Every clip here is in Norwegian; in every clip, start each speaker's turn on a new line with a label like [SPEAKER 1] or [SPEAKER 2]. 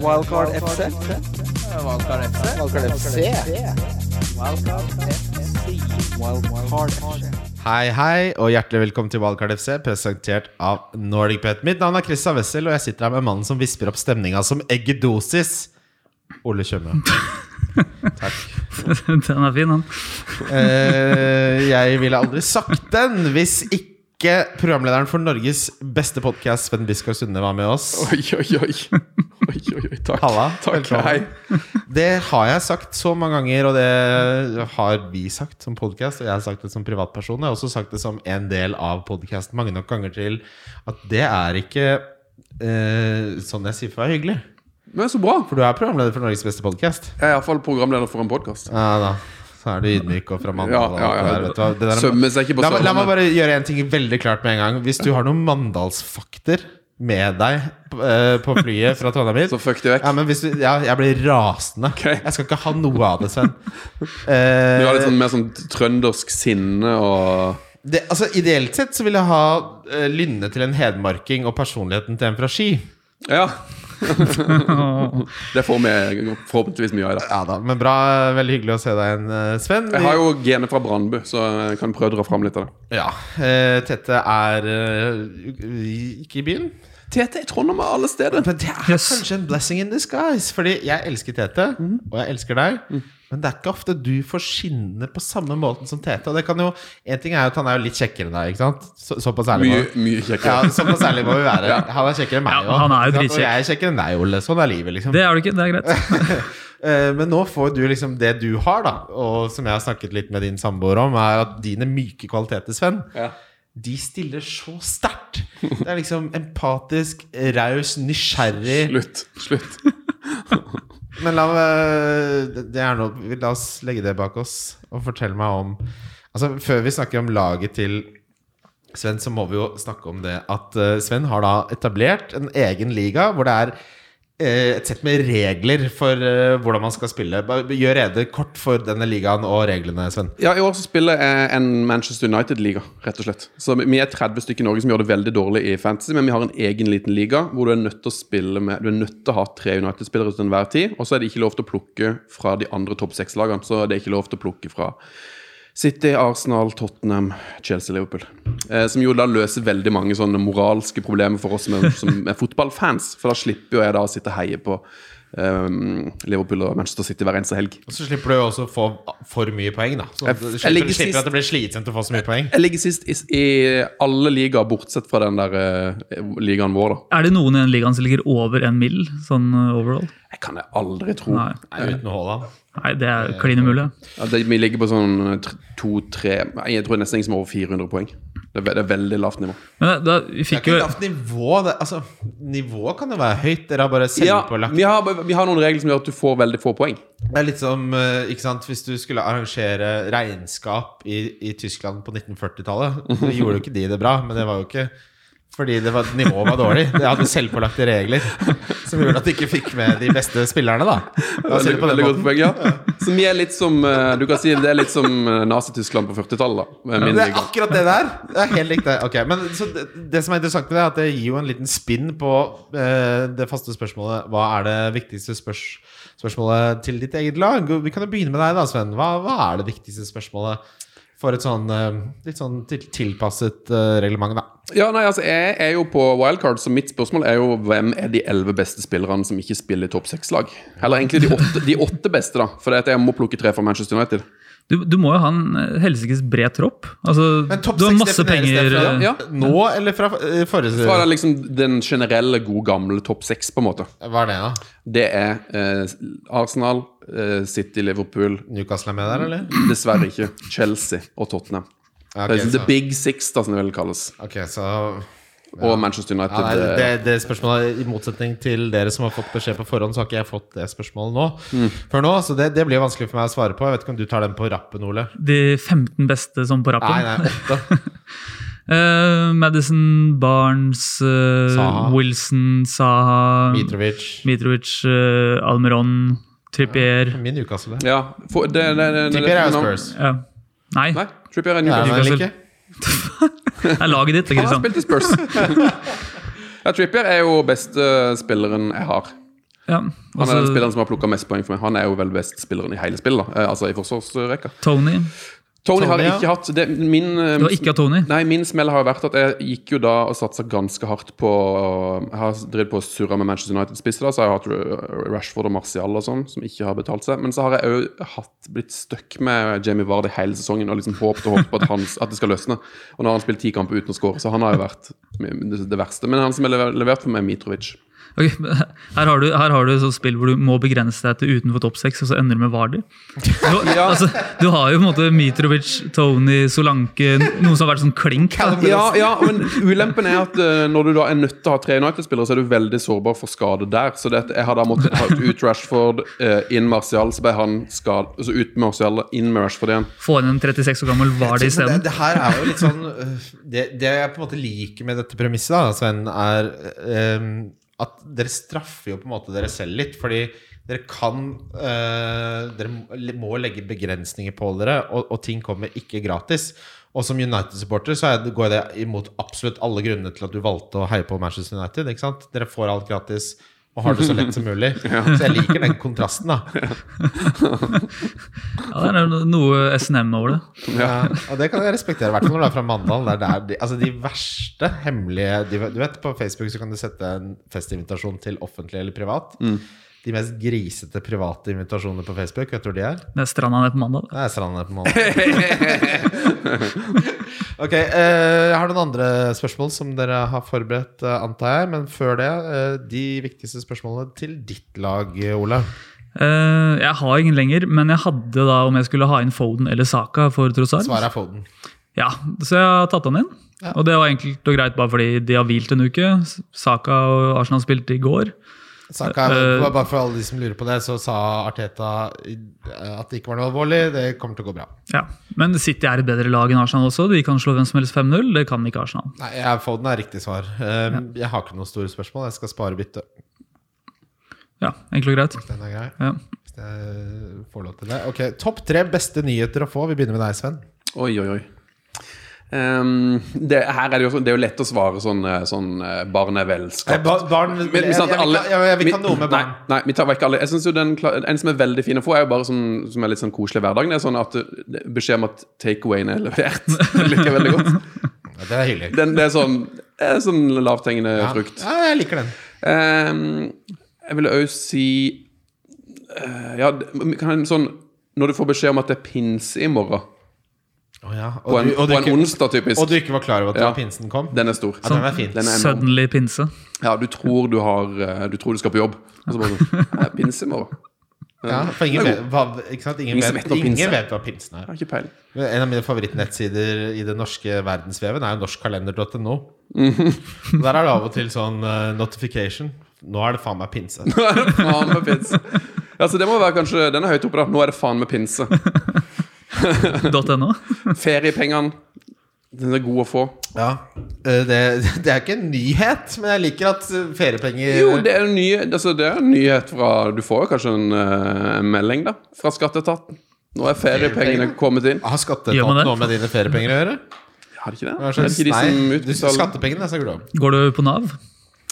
[SPEAKER 1] Wildcard FC.
[SPEAKER 2] Valgkar FC.
[SPEAKER 1] Wildcard FC. Wildcard FC.
[SPEAKER 3] Hei, hei, og hjertelig velkommen til Wildcard FC, presentert av NordicBet. Mitt navn er Christian Wessel, og jeg sitter her med mannen som visper opp stemninga som eggedosis. Ole Tjøme.
[SPEAKER 4] Den er fin, den.
[SPEAKER 3] Eh, jeg ville aldri sagt den hvis ikke programlederen for Norges beste podkast, Sven Biskår Sunde, var med oss.
[SPEAKER 5] Oi, oi, oi. Oi, oi, oi. Takk.
[SPEAKER 3] Halla,
[SPEAKER 5] Takk.
[SPEAKER 3] velkommen.
[SPEAKER 5] Hei.
[SPEAKER 3] Det har jeg sagt så mange ganger, og det har vi sagt som podkast. Og jeg har sagt det som privatperson. Jeg har også sagt det som en del av podkasten mange nok ganger til at det er ikke eh, sånn jeg sier for å være hyggelig.
[SPEAKER 5] Men så bra.
[SPEAKER 3] For du er programleder for Norges beste podkast.
[SPEAKER 5] Jeg er iallfall programleder for en podkast.
[SPEAKER 3] Ja da. Så er du ydmyk og fra Mandal.
[SPEAKER 5] Ja,
[SPEAKER 3] og
[SPEAKER 5] ja,
[SPEAKER 3] alt
[SPEAKER 5] ja.
[SPEAKER 3] det der, vet du hva. Det der-
[SPEAKER 5] Sømmer seg ikke på sånn.
[SPEAKER 3] la, meg- la meg
[SPEAKER 5] Sørlandet.
[SPEAKER 3] bare gjøre en ting veldig klart med en gang. Hvis du har noen Mandalsfakter med deg eh, på flyet fra Trondheim hit,
[SPEAKER 5] Så fuck det vekk.
[SPEAKER 3] Ja, men hvis du, ja, jeg blir rasende. Jeg skal ikke ha noe av det, Sven. Eh,
[SPEAKER 5] Du har litt sånn mer sånn trøndersk sinne og
[SPEAKER 3] det, altså, ideelt sett så vil jeg ha eh, lynne til en hedmarking og personligheten til en fra Ski.
[SPEAKER 5] Ja. Det får vi forhåpentligvis mye av i dag.
[SPEAKER 3] Ja da, Men bra. Veldig hyggelig å se deg igjen, eh, Sven.
[SPEAKER 5] Jeg har jo genet fra Brandbu, så jeg kan prøve å dra fram litt av det.
[SPEAKER 3] Ja, eh, Tette er eh, ikke i byen.
[SPEAKER 5] Tete i Trondheim er alle steder.
[SPEAKER 3] Men det er
[SPEAKER 4] Yes.
[SPEAKER 3] kanskje en blessing in disguise. Fordi jeg elsker Tete, og jeg elsker deg. Men det er ikke ofte du får skinne på samme måten som Tete. Og det kan jo, en ting er jo at han er jo litt kjekkere enn deg, ikke sant? Så, såpass ærlig
[SPEAKER 5] Mye,
[SPEAKER 3] må-
[SPEAKER 5] mye
[SPEAKER 3] Ja,
[SPEAKER 5] kjekkere.
[SPEAKER 3] såpass ærlig må vi være. Han er kjekkere enn meg
[SPEAKER 4] Ja, han er jo
[SPEAKER 3] ikke sant? Og
[SPEAKER 4] dritkjekk.
[SPEAKER 3] jeg er kjekkere enn deg, Ole. Sånn er livet, liksom.
[SPEAKER 4] Det er du ikke, det er greit.
[SPEAKER 3] Eh, Men nå får du liksom det du har, da. Og som jeg har snakket litt med din samboer om, er at dine myke kvaliteter, Sven,
[SPEAKER 5] Ja.
[SPEAKER 3] de stiller så sterkt. Det er liksom empatisk, raus, nysgjerrig
[SPEAKER 5] Slutt. Slutt.
[SPEAKER 3] Men la, meg- det er noe, la oss legge det bak oss og fortelle meg om Altså Før vi snakker om laget til Sven, så må vi jo snakke om det at eh, Sven har da etablert en egen liga hvor det er eh, et sett med regler for eh, hvordan man skal spille. Bare Gjør rede kort for denne ligaen og reglene, Sven.
[SPEAKER 5] Ja, I år så spiller jeg en Manchester United-liga, rett og slett. Så vi er 30 stykker i Norge som gjør det veldig dårlig i fantasy, men vi har en egen liten liga hvor du er nødt til å spille med Du er nødt til å ha tre United-spillere til enhver tid, og så er det ikke lov til å plukke fra de andre topp seks-lagene. Så det er ikke lov til å plukke fra City, Arsenal, Tottenham, Chelsea, Liverpool. Eh, som jo da løser veldig mange sånne moralske problemer for oss som er, som er fotballfans, for da slipper jo jeg da å sitte og heie på eh, Liverpool og Manchester City hver eneste helg.
[SPEAKER 3] Og så slipper du jo også å få for mye poeng, da. Så
[SPEAKER 5] Jeg-
[SPEAKER 3] du
[SPEAKER 5] jeg ligger
[SPEAKER 3] slipper, du
[SPEAKER 5] sist.
[SPEAKER 3] slipper at det blir slitsomt å få så mye poeng.
[SPEAKER 5] Jeg ligger sist i, i alle ligaer, bortsett fra den der eh, ligaen vår, da.
[SPEAKER 4] Er det noen i den ligaen som ligger over en mill, sånn eh, overall?
[SPEAKER 5] Jeg kan jeg aldri tro.
[SPEAKER 4] Nei,
[SPEAKER 3] Nei, uten Haaland.
[SPEAKER 4] Nei det er klin umulig.
[SPEAKER 5] Ja, det, vi ligger på sånn eh, tr- to-tre nei, Jeg tror nesten ingen som er over 400 poeng. Det er, ve- det er veldig lavt nivå.
[SPEAKER 4] Men eh, da, da, vi
[SPEAKER 3] Det er
[SPEAKER 4] fikk
[SPEAKER 3] ikke
[SPEAKER 4] jo
[SPEAKER 3] lavt nivå. Det, altså, nivået kan jo være høyt. Dere har bare
[SPEAKER 5] Ja,
[SPEAKER 3] selvpålagt
[SPEAKER 5] vi, har, vi har noen regler som gjør at du får veldig få poeng.
[SPEAKER 3] Det er litt som eh, ikke sant, hvis du skulle arrangere regnskap i, i Tyskland på 1940-tallet. Så
[SPEAKER 5] Mhm.
[SPEAKER 3] gjorde jo ikke de det bra, men det var jo ikke fordi det var, nivået var dårlig. De hadde selvpålagte regler som gjorde at de ikke fikk med de beste spillerne, da. La oss si det på den
[SPEAKER 5] Veldig godt
[SPEAKER 3] måten.
[SPEAKER 5] poeng, ja. Så vi er litt som eh, Du kan si det er litt som eh, Nazi-Tyskland på 40-tallet, da. med
[SPEAKER 3] Men
[SPEAKER 5] Min
[SPEAKER 3] det er
[SPEAKER 5] liga.
[SPEAKER 3] akkurat det der! Det er helt likt det. Ok, men så det, det som er interessant med det, er at det gir jo en liten spinn på eh, det faste spørsmålet Hva er det viktigste spørs spørsmålet til ditt eget lag? Vi kan jo begynne med deg, da, Sven. Hva, hva er det viktigste spørsmålet for et sånn eh, litt sånn til, tilpasset eh, reglement, da?
[SPEAKER 5] Ja, nei, altså, jeg er jo på wildcard, så mitt spørsmål er jo hvem er de elleve beste spillerne som ikke spiller i topp seks-lag? Eller egentlig de åtte, de åtte beste, da. For det at jeg må plukke tre fra Manchester United.
[SPEAKER 4] Du, du må jo ha en eh, helsikes bred tropp. Altså,
[SPEAKER 3] Men topp
[SPEAKER 4] du har
[SPEAKER 3] seks
[SPEAKER 4] masse
[SPEAKER 3] defineres
[SPEAKER 4] penger
[SPEAKER 3] det fra
[SPEAKER 4] eh,
[SPEAKER 5] Ja.
[SPEAKER 3] nå, eller fra eh, forrige
[SPEAKER 5] Fra den, liksom, den generelle, gode, gamle topp seks, på en måte.
[SPEAKER 3] Hva er det, da?
[SPEAKER 5] Det er eh, Arsenal, eh, City, Liverpool
[SPEAKER 3] Newcastle er med der, eller?
[SPEAKER 5] Dessverre ikke Chelsea og Tottenham.
[SPEAKER 3] Ja,
[SPEAKER 5] Det
[SPEAKER 3] ok,
[SPEAKER 5] er liksom
[SPEAKER 3] så-
[SPEAKER 5] The Big Six, da, som det vel kalles.
[SPEAKER 3] Ok, så
[SPEAKER 5] Og Manchester United.
[SPEAKER 3] Ja, nei,
[SPEAKER 5] eh,
[SPEAKER 3] det, det spørsmålet I motsetning til dere som har fått beskjed på forhånd, så har ikke jeg fått det spørsmålet nå. Før nå, Så det, det blir vanskelig for meg å svare på. Jeg vet ikke om du tar den på rappen, Ole.
[SPEAKER 4] de 15 beste sånn på
[SPEAKER 3] Nei,
[SPEAKER 4] rappen.
[SPEAKER 3] nei, åtte.
[SPEAKER 4] Eh, Madison, Barnes, eh,
[SPEAKER 3] Saha.
[SPEAKER 4] Wilson, Saha,
[SPEAKER 3] Mitrovic.
[SPEAKER 4] Mitrovic, eh, Almeron, Trippier
[SPEAKER 3] Min Newcastle.
[SPEAKER 5] ja, for, det, det, det, det,
[SPEAKER 3] Trippier er jo Spurs.
[SPEAKER 4] ja. Nei,
[SPEAKER 5] Nei, Trippier er
[SPEAKER 3] Ja,
[SPEAKER 5] Newcastle.
[SPEAKER 3] men ikke.
[SPEAKER 4] Newcastle. det er laget ditt.
[SPEAKER 5] Han har
[SPEAKER 4] Kristian.
[SPEAKER 5] spilt i Spurs. ja, Trippier er jo beste spilleren jeg har.
[SPEAKER 4] Ja,
[SPEAKER 5] Han
[SPEAKER 3] Mm.
[SPEAKER 5] er den
[SPEAKER 4] altså,
[SPEAKER 5] spilleren som har plukka mest poeng for meg. Han er jo vel best spilleren i hele spillet, da. Eh, altså i forsvarsrekka.
[SPEAKER 4] Tony.
[SPEAKER 5] Tony har
[SPEAKER 3] Tony, ja.
[SPEAKER 5] ikke hatt det, min, eh,
[SPEAKER 4] Det var ikke av Tony.
[SPEAKER 5] Nei, min smell har jo vært at jeg gikk jo da og satsa ganske hardt på Jeg har drevet på og surra med Manchester United-spisser, da, så jeg har hatt Ra- Rashford og Martial og sånn, som ikke har betalt seg. Men så har jeg òg blitt stuck med Jamie Vardy hele sesongen og liksom håpet og håpet på at, han, at det skal løsne. Og nå har han spilt ti kamper uten å score, så han har jo vært det det verste. Men han som er lever- levert for meg, er Mitrovic.
[SPEAKER 4] Ok, men her har du, her har du et sånt spill hvor du må begrense deg til utenfor topp seks, og så ender du med Vardy. Du, altså, du har jo på en måte Mitrovic, Tony, Solanke Noen som har vært sånn klink. da.
[SPEAKER 5] Ja, ja, men ulempen er at eh, når du da er nødt til å ha tre United-spillere, så er du veldig sårbar for skade der. Så det, at jeg har da måttet ta ut Rashford, eh, inn Martial, så ble han skadet Altså ut med Martial, inn med Rashford igjen.
[SPEAKER 4] Få inn en 36 år gammel Vardy
[SPEAKER 3] Men Det,
[SPEAKER 4] isteden.
[SPEAKER 3] det her er jo litt sånn øh, det, det jeg på en måte liker med dette premisset, da, altså, Sven, er øhm, at dere straffer jo på en måte dere selv litt. Fordi dere kan øh, Dere må- må legge begrensninger på dere, og, og ting kommer ikke gratis. Og som United-supporter så er det, går det imot absolutt alle grunnene til at du valgte å heie på Manchester United. Ikke sant? Dere får alt gratis. Og har det så lett som mulig. Så jeg liker den kontrasten, da.
[SPEAKER 4] Ja, det er no- noe SNM over det.
[SPEAKER 3] Ja, og det kan jeg respektere, i hvert fall når det er fra Mandal. Det er der de, altså de verste hemmelige de, Du vet, På Facebook så kan du sette en festinvitasjon til offentlig eller privat. De mest grisete private invitasjonene på Facebook, vet du hvor de er?
[SPEAKER 4] Det er stranda ned på mandag.
[SPEAKER 3] Det er Stranda på Mandal. ok, eh, jeg har noen andre spørsmål som dere har forberedt, eh, antar jeg. Men før det, eh, de viktigste spørsmålene til ditt lag, Olav.
[SPEAKER 4] Eh, jeg har ingen lenger, men jeg hadde da om jeg skulle ha inn Foden eller Saka for Trossard.
[SPEAKER 3] Svaret er Foden.
[SPEAKER 4] Ja, så jeg har tatt han inn.
[SPEAKER 3] Ja.
[SPEAKER 4] Og det var enkelt og greit bare fordi de har hvilt en uke. Saka og Arsenal spilte i går.
[SPEAKER 3] Saka,
[SPEAKER 4] Eh,
[SPEAKER 3] bare- bare for alle de som lurer på det, så sa Arteta i- at det ikke var noe alvorlig. Det kommer til å gå bra.
[SPEAKER 4] Ja. Men City er et bedre lag enn Arsenal også. De kan slå hvem som helst 5-0. Det kan ikke Arsenal.
[SPEAKER 3] Nei, jeg, Foden er riktig svar. Um, Jeg har ikke noen store spørsmål. Jeg skal spare byttet.
[SPEAKER 4] Ja, enkelt og greit.
[SPEAKER 3] Den er grei.
[SPEAKER 4] Ja.
[SPEAKER 3] Hvis jeg får lov til det. Ok, Topp tre beste nyheter å få. Vi begynner med deg, Sven.
[SPEAKER 5] Oi, oi, oi. Ehm, det, her er det, jo, sånn- det er jo lett å svare sånn, eh, sånn eh, barn er velskapt.
[SPEAKER 3] barn,
[SPEAKER 5] Men- men sant, alle- vi- Nei, nei, vi tar vekk alle. Jeg synes jo den, kla- En som er veldig fin å få, er jo bare sånn, som er litt sånn koselig i hverdagen. Det er sånn at uh, det- Beskjed om at takeawayen er levert. Det liker jeg veldig godt.
[SPEAKER 3] Ja, det er hyggelig.
[SPEAKER 5] Den, det er sånn, det er sånn lavthengende
[SPEAKER 3] Ja.
[SPEAKER 5] frukt.
[SPEAKER 3] Ja, jeg liker den.
[SPEAKER 5] Ehm, jeg vil òg si eh, Ja, det- men kan en sånn Når du får beskjed om at det er pinse i morgen,
[SPEAKER 3] Å ja. og,
[SPEAKER 5] på en,
[SPEAKER 3] du, og, du
[SPEAKER 5] på en
[SPEAKER 3] ikke,
[SPEAKER 5] onsdag typisk,
[SPEAKER 3] og du Sånn ikke var klar over at det
[SPEAKER 5] Ja.
[SPEAKER 3] var pinsen kom?
[SPEAKER 5] den er stor.
[SPEAKER 3] Ja, den er fin.
[SPEAKER 5] Den er enorm.
[SPEAKER 4] Suddenly pinse.
[SPEAKER 5] Ja, du tror du, har, eh, du tror du skal på jobb, og så bare sånn «Nei, Pinse i morgen.
[SPEAKER 3] Ja, for ingen vet, hva, ikke sant? Ingen
[SPEAKER 5] Ingen
[SPEAKER 3] vet,
[SPEAKER 5] vet hva pinsen
[SPEAKER 3] ingen
[SPEAKER 5] er.
[SPEAKER 3] vet hva pinsen er.
[SPEAKER 5] Jeg har ikke peiling.
[SPEAKER 3] En av mine favorittnettsider i det norske verdensveven er jo norskkalender.no.
[SPEAKER 5] Mhm.
[SPEAKER 3] Og Der er det av og til sånn eh, notification. Nå er det faen meg pinse.
[SPEAKER 5] Nå er det faen med pinse. Altså, det må være kanskje, Den er høyt oppe, da. Nå er det faen med pinse.
[SPEAKER 4] .no.
[SPEAKER 5] Feriepengene. Den er god å få.
[SPEAKER 3] Ja, eh, det, det er ikke en nyhet, men jeg liker at eh, feriepenger
[SPEAKER 5] Jo, det er en, ny, altså, det er en nyhet fra Du får jo kanskje en eh, melding, da. Fra skatteetaten. Nå er feriepengene kommet inn.
[SPEAKER 3] eh, Har
[SPEAKER 4] Gjør man
[SPEAKER 3] skatteetaten
[SPEAKER 4] det?
[SPEAKER 3] noe med dine feriepenger å gjøre?
[SPEAKER 5] Har de ikke det?
[SPEAKER 3] Hva
[SPEAKER 5] Er det
[SPEAKER 3] slags-
[SPEAKER 5] ikke de som
[SPEAKER 3] Nei, du,
[SPEAKER 5] utbetaler
[SPEAKER 3] skattepengene snakker du om.
[SPEAKER 4] Går du på Nav?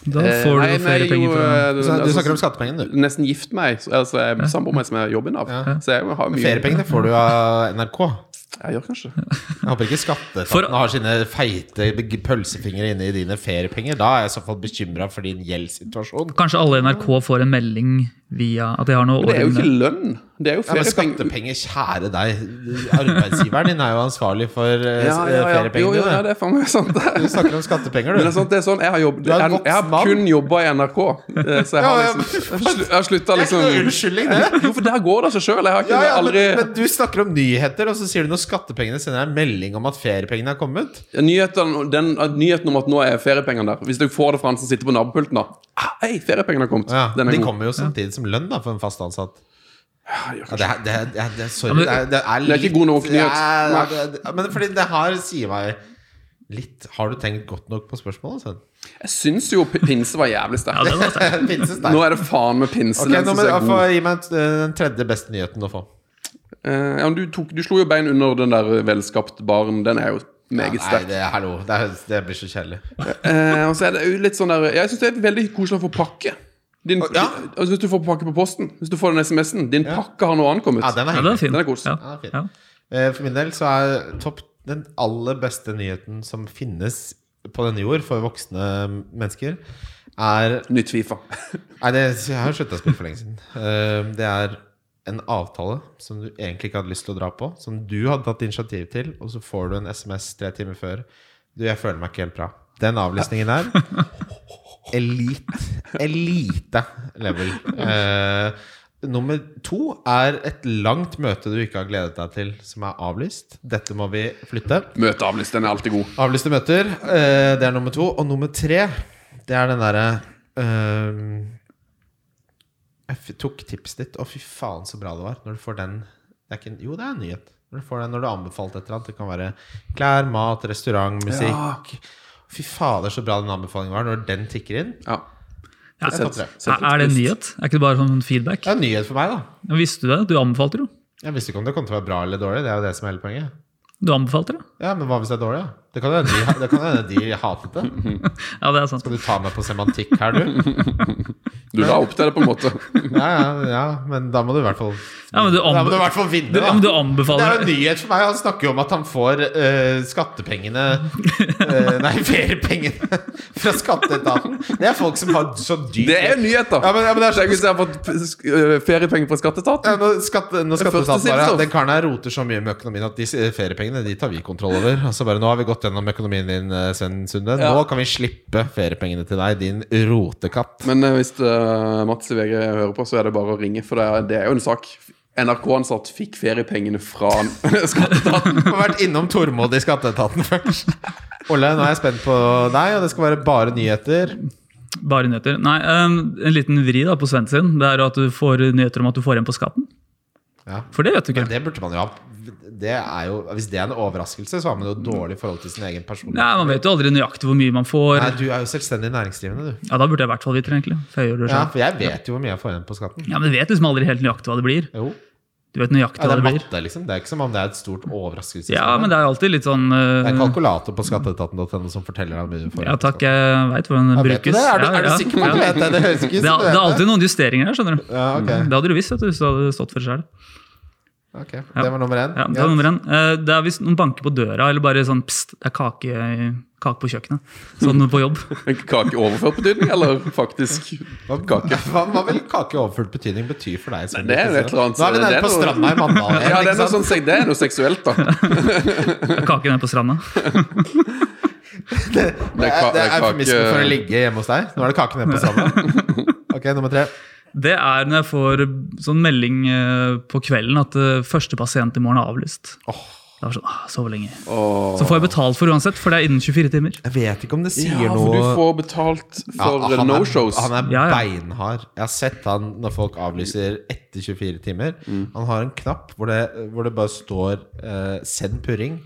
[SPEAKER 4] Da
[SPEAKER 5] Eh, nei,
[SPEAKER 4] får du
[SPEAKER 5] nei, jo,
[SPEAKER 4] feriepenger fra
[SPEAKER 5] eh,
[SPEAKER 3] Du snak- du
[SPEAKER 5] altså,
[SPEAKER 3] snakker om skattepengene, du.
[SPEAKER 5] Nesten gift meg. så- Altså, jeg er samboer med en som er jobben av.
[SPEAKER 3] Ja.
[SPEAKER 5] Så jeg har mye
[SPEAKER 3] Feriepengene får du av NRK.
[SPEAKER 5] Jeg gjør kanskje
[SPEAKER 3] Jeg håper ikke
[SPEAKER 4] For-
[SPEAKER 3] skatteetaten har sine feite beg- pølsefingre inne i dine feriepenger. Da er jeg i så fall bekymra for din gjeldssituasjon.
[SPEAKER 4] Kanskje alle i NRK får en melding via at de har noe
[SPEAKER 5] Men det er jo ikke
[SPEAKER 4] ordentlig.
[SPEAKER 5] lønn. Det er jo
[SPEAKER 3] Ja, men
[SPEAKER 5] feriepenger.
[SPEAKER 3] skattepenger, kjære deg. Arbeidsgiveren din er jo ansvarlig for eh,
[SPEAKER 5] Ja, ja, ja. Jo,
[SPEAKER 3] feriepengene
[SPEAKER 5] jo,
[SPEAKER 3] dine.
[SPEAKER 5] ja, det er faen meg sant.
[SPEAKER 3] Du snakker om skattepenger,
[SPEAKER 5] Men det
[SPEAKER 3] du.
[SPEAKER 5] er sånn, det er sånn jeg har, jobb,
[SPEAKER 3] er en
[SPEAKER 5] jeg, jeg
[SPEAKER 3] voksen
[SPEAKER 5] har kun jobba i NRK. eh, Så jeg har
[SPEAKER 3] Ja, ja,
[SPEAKER 5] liksom Jeg har slutta
[SPEAKER 3] Det er ikke noe
[SPEAKER 5] liksom
[SPEAKER 3] unnskyldning, det.
[SPEAKER 5] Jo, for der går det seg sjøl. Jeg har ikke
[SPEAKER 3] Ja, ja, men,
[SPEAKER 5] aldri
[SPEAKER 3] men du snakker om nyheter, og så sier du når skattepengene sender deg en melding om at feriepengene er kommet.
[SPEAKER 5] nyheten, den, nyheten om at nå er feriepengene der. Hvis du får det fra han som sitter på nabopulten, da. Ah, hei, feriepengene har kommet.
[SPEAKER 3] Ja,
[SPEAKER 5] den er
[SPEAKER 3] de
[SPEAKER 5] god.
[SPEAKER 3] kommer jo samtidig som lønn da for en fast ansatt.
[SPEAKER 5] Ja, ja,
[SPEAKER 3] Ja, det, er- det, er- det, er- det, er- sorry,
[SPEAKER 4] Ja, men-
[SPEAKER 3] det, er- det er
[SPEAKER 5] Det er ikke god nok nyhet.
[SPEAKER 3] det er-
[SPEAKER 5] Nei.
[SPEAKER 3] det er- det er- Men fordi det her sier meg litt Har du tenkt godt nok på spørsmålet? Sven?
[SPEAKER 5] Jeg syns jo p- pinse var jævlig
[SPEAKER 4] Ja,
[SPEAKER 5] sterkt.
[SPEAKER 4] det var sterkt.
[SPEAKER 3] Finnes det
[SPEAKER 5] Nå
[SPEAKER 3] sterkt.
[SPEAKER 5] er det faen med pinsen.
[SPEAKER 3] Ok,
[SPEAKER 5] den
[SPEAKER 3] nå
[SPEAKER 5] synes
[SPEAKER 3] må
[SPEAKER 5] jeg er
[SPEAKER 3] du
[SPEAKER 5] god.
[SPEAKER 3] få gi meg eh, den tredje beste nyheten å få.
[SPEAKER 5] Eh, ja, men du, tok, du slo jo bein under den der velskapt baren. Den er jo meget
[SPEAKER 3] Ja,
[SPEAKER 5] sterk.
[SPEAKER 3] Nei, det, hallo, det, er, det blir så kjedelig.
[SPEAKER 5] Eh, og så er det jo litt sånn der Jeg syns det er veldig koselig å få pakke. Din,
[SPEAKER 3] Ja.
[SPEAKER 5] altså, hvis du får pakke på posten, hvis du får den SMS-en Din
[SPEAKER 3] Ja.
[SPEAKER 5] pakke har nå ankommet.
[SPEAKER 3] Ja, den er
[SPEAKER 4] Ja, den er
[SPEAKER 3] hyggelig.
[SPEAKER 4] fin.
[SPEAKER 5] Den er kos.
[SPEAKER 4] Ja.
[SPEAKER 3] Ja, fin.
[SPEAKER 4] Ja.
[SPEAKER 3] Eh, For min del så er topp den aller beste nyheten som finnes på denne jord for voksne mennesker, er
[SPEAKER 5] Nytt Fifa.
[SPEAKER 3] Nei, det, jeg har slutta å spille for lenge siden. Eh, Det er en avtale som du egentlig ikke hadde lyst til å dra på, som du hadde tatt initiativ til, og så får du en SMS tre timer før. Du, jeg føler meg ikke helt bra. Den avlesningen der Elite. Elite level. Eh, nummer to er et langt møte du ikke har gledet deg til, som er avlyst. Dette må vi flytte.
[SPEAKER 5] Møte avlyst. Den er alltid god.
[SPEAKER 3] Avlyste møter, eh, det er nummer to. Og nummer tre, det er den derre eh, Jeg f- tok tipset ditt, og fy faen så bra det var. Når du får den det er ikke, en- Jo, det er en nyhet. Når du får den når du har anbefalt et eller annet. Det kan være klær, mat, restaurant, musikk. Fy fader, så bra den anbefalingen var. Når den tikker inn.
[SPEAKER 5] Ja.
[SPEAKER 4] Ja.
[SPEAKER 3] Topp tre.
[SPEAKER 5] Sett
[SPEAKER 4] Er- Er det en nyhet? Er ikke det bare sånn feedback?
[SPEAKER 3] Det er en nyhet for meg, da.
[SPEAKER 4] Ja, Visste du det? Du anbefalte det jo.
[SPEAKER 3] Jeg visste ikke om det kom til å være bra eller dårlig. Det er jo det som er hele poenget.
[SPEAKER 4] Du anbefalte det.
[SPEAKER 3] Ja, Men hva hvis det er dårlig? da? Det kan jo hende de, det kan jo hende de hatet det.
[SPEAKER 4] Ja, det er sant.
[SPEAKER 3] Skal du ta meg på semantikk her, du?
[SPEAKER 5] Du la opp til det, på en måte.
[SPEAKER 3] Ja, ja, ja, men da må du i hvert fall
[SPEAKER 4] Ja, men du,
[SPEAKER 3] Da må du i
[SPEAKER 4] anbe
[SPEAKER 3] hvert fall vinne,
[SPEAKER 4] du,
[SPEAKER 3] da.
[SPEAKER 4] ja, men du
[SPEAKER 3] det er jo
[SPEAKER 4] anbefaler
[SPEAKER 3] en
[SPEAKER 4] det.
[SPEAKER 3] nyhet for meg. Han snakker jo om at han får eh, skattepengene eh, Nei, feriepengene fra skatteetaten. Det er folk som har så dyrt
[SPEAKER 5] Det er jo nyhet, da.
[SPEAKER 3] Ja, men, ja, men det er så-
[SPEAKER 5] Tenk hvis jeg har fått sk- øh, feriepenger fra
[SPEAKER 3] ja,
[SPEAKER 5] skatteetaten.
[SPEAKER 3] når skatte, når skatteetaten
[SPEAKER 5] siden,
[SPEAKER 3] bare
[SPEAKER 5] så.
[SPEAKER 3] Den karen her roter så mye med økonomien at de s- feriepengene de tar vi kontroll over. Altså bare, Nå har vi gått gjennom økonomien din, eh, Sven Sunde. Nå kan vi slippe feriepengene til deg, din rotekatt.
[SPEAKER 5] Men øh, hvis øh, Mats i VG hører på, så er det bare å ringe, for det er, det er jo en sak. NRK-ansatt fikk feriepengene fra skatteetaten.
[SPEAKER 3] Jeg har vært innom Tormod i skatteetaten først. Olle, nå er jeg spent på deg, og det skal være bare nyheter.
[SPEAKER 4] Bare nyheter. Nei, ehm, en liten vri da på Sven sin. Det er jo at du får nyheter om at du får igjen på skatten.
[SPEAKER 3] Ja.
[SPEAKER 4] For det vet du ikke.
[SPEAKER 3] Men det burde man jo ha. Det er jo, hvis det er en overraskelse, så har man jo dårlig forhold til sin egen person.
[SPEAKER 4] Nei, Man vet jo aldri nøyaktig hvor mye man
[SPEAKER 3] Nei,
[SPEAKER 4] får.
[SPEAKER 3] du er jo selvstendig næringsdrivende, du.
[SPEAKER 4] Ja, Da burde jeg i hvert fall vite det, egentlig. For jeg gjør det
[SPEAKER 3] Ja,
[SPEAKER 4] selv.
[SPEAKER 3] for jeg vet jo hvor mye jeg får igjen på skatten.
[SPEAKER 4] Ja, men Du vet liksom aldri helt nøyaktig hva det blir.
[SPEAKER 3] Jo.
[SPEAKER 4] Du vet nøyaktig
[SPEAKER 3] Ja, det
[SPEAKER 4] hva
[SPEAKER 3] er
[SPEAKER 4] det blir.
[SPEAKER 3] matte, liksom. Det er ikke som om det er et stort overraskelse.
[SPEAKER 4] Ja, men det er alltid litt sånn eh,
[SPEAKER 3] Det er en kalkulator på skatteetaten.no som forteller deg hvor mye du får.
[SPEAKER 4] Ja takk, jeg veit hvordan den
[SPEAKER 3] Ja, vet du
[SPEAKER 4] brukes.
[SPEAKER 3] det? Er du,
[SPEAKER 4] Ja,
[SPEAKER 3] er du
[SPEAKER 4] ja.
[SPEAKER 3] sikker på at du
[SPEAKER 4] Ja.
[SPEAKER 3] vet det? Det høres ikke ut
[SPEAKER 4] Det er,
[SPEAKER 3] som du
[SPEAKER 4] det er
[SPEAKER 3] vet det.
[SPEAKER 4] alltid noen justeringer her, skjønner du.
[SPEAKER 3] Ja, ok.
[SPEAKER 4] Det hadde du visst vet du, hvis du hadde stått for det selv.
[SPEAKER 3] ok. Det var nummer én.
[SPEAKER 4] Ja, det er nummer én. Eh, Det er hvis noen banker på døra, eller bare sånn pst, det er kake, kake på kjøkkenet. Sånn på jobb.
[SPEAKER 5] Kake i overført betydning, eller faktisk kake?
[SPEAKER 3] Hva, hva vil kake i overført betydning bety for deg? Sven?
[SPEAKER 5] Nei, det er jo et eller annet-
[SPEAKER 3] Nå er vi
[SPEAKER 5] det
[SPEAKER 3] nede
[SPEAKER 5] er
[SPEAKER 3] på
[SPEAKER 5] noe-
[SPEAKER 3] stranda i Mandal.
[SPEAKER 5] Ja,
[SPEAKER 3] igjen,
[SPEAKER 5] det er
[SPEAKER 3] ikke
[SPEAKER 5] noe,
[SPEAKER 3] sant?
[SPEAKER 5] sånn, seg- det er noe seksuelt, da.
[SPEAKER 4] Kake nede på stranda.
[SPEAKER 3] Det
[SPEAKER 5] Det er
[SPEAKER 3] er,
[SPEAKER 5] ka-
[SPEAKER 3] det
[SPEAKER 5] det
[SPEAKER 3] er
[SPEAKER 5] er
[SPEAKER 3] eufemismen
[SPEAKER 5] kake-
[SPEAKER 3] for å ligge hjemme hos deg. Nå er det kake nede på stranda. Ok, nummer tre.
[SPEAKER 4] Det er når jeg får sånn melding eh, på kvelden at eh, første pasient i morgen er avlyst. Det var sånn, ah, Sove lenge. Så får jeg betalt for uansett, for det er innen 24 timer.
[SPEAKER 3] Jeg vet ikke om det sier
[SPEAKER 5] Ja, for
[SPEAKER 3] noe
[SPEAKER 5] du får betalt for eh,
[SPEAKER 3] Ja, han er-
[SPEAKER 5] no-shows.
[SPEAKER 3] Han er
[SPEAKER 4] Ja, ja.
[SPEAKER 3] beinhard. Jeg har sett han når folk avlyser etter 24 timer.
[SPEAKER 5] Mm.
[SPEAKER 3] Han har en knapp hvor det, hvor det bare står eh, 'send purring'.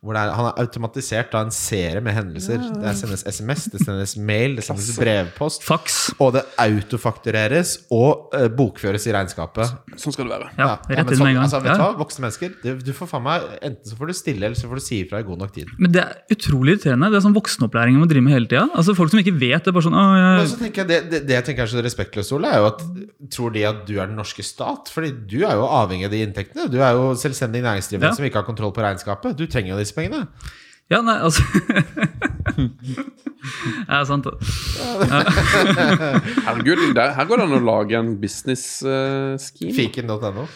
[SPEAKER 3] Hvor det er, han har automatisert da en serie med hendelser. Det sendes SMS, det sendes mail, det sendes
[SPEAKER 5] Altså.
[SPEAKER 3] brevpost.
[SPEAKER 4] Faks.
[SPEAKER 3] Og det autofaktureres og eh, bokføres i regnskapet.
[SPEAKER 5] Sånn skal det være.
[SPEAKER 4] Ja,
[SPEAKER 3] men
[SPEAKER 4] rett inn med en
[SPEAKER 3] sånn-
[SPEAKER 4] gang.
[SPEAKER 3] Altså, vet du
[SPEAKER 4] Ja.
[SPEAKER 3] hva? Voksne mennesker, du, du får faen meg Enten så får du stille, eller så får du si ifra i god nok tid.
[SPEAKER 4] Men det er utrolig irriterende. Det er sånn voksenopplæring man må drive med hele tida. Altså, folk som ikke vet det, er bare sånn «Å,
[SPEAKER 3] Men
[SPEAKER 4] jeg,
[SPEAKER 3] så tenker jeg, det, det, det jeg tenker er så respektløst, Ole, er jo at tror de at du er den norske stat? Fordi du er jo avhengig av de inntektene. Du er jo selvstendig næringsdrivende
[SPEAKER 4] Ja.
[SPEAKER 3] som ikke har kontroll på regnskapet. Du trenger jo disse pengene.
[SPEAKER 4] Ja, nei, altså Ja, sant.
[SPEAKER 5] Herregud, der, her går det an å lage en business eh, scheme.
[SPEAKER 3] Fiken.no.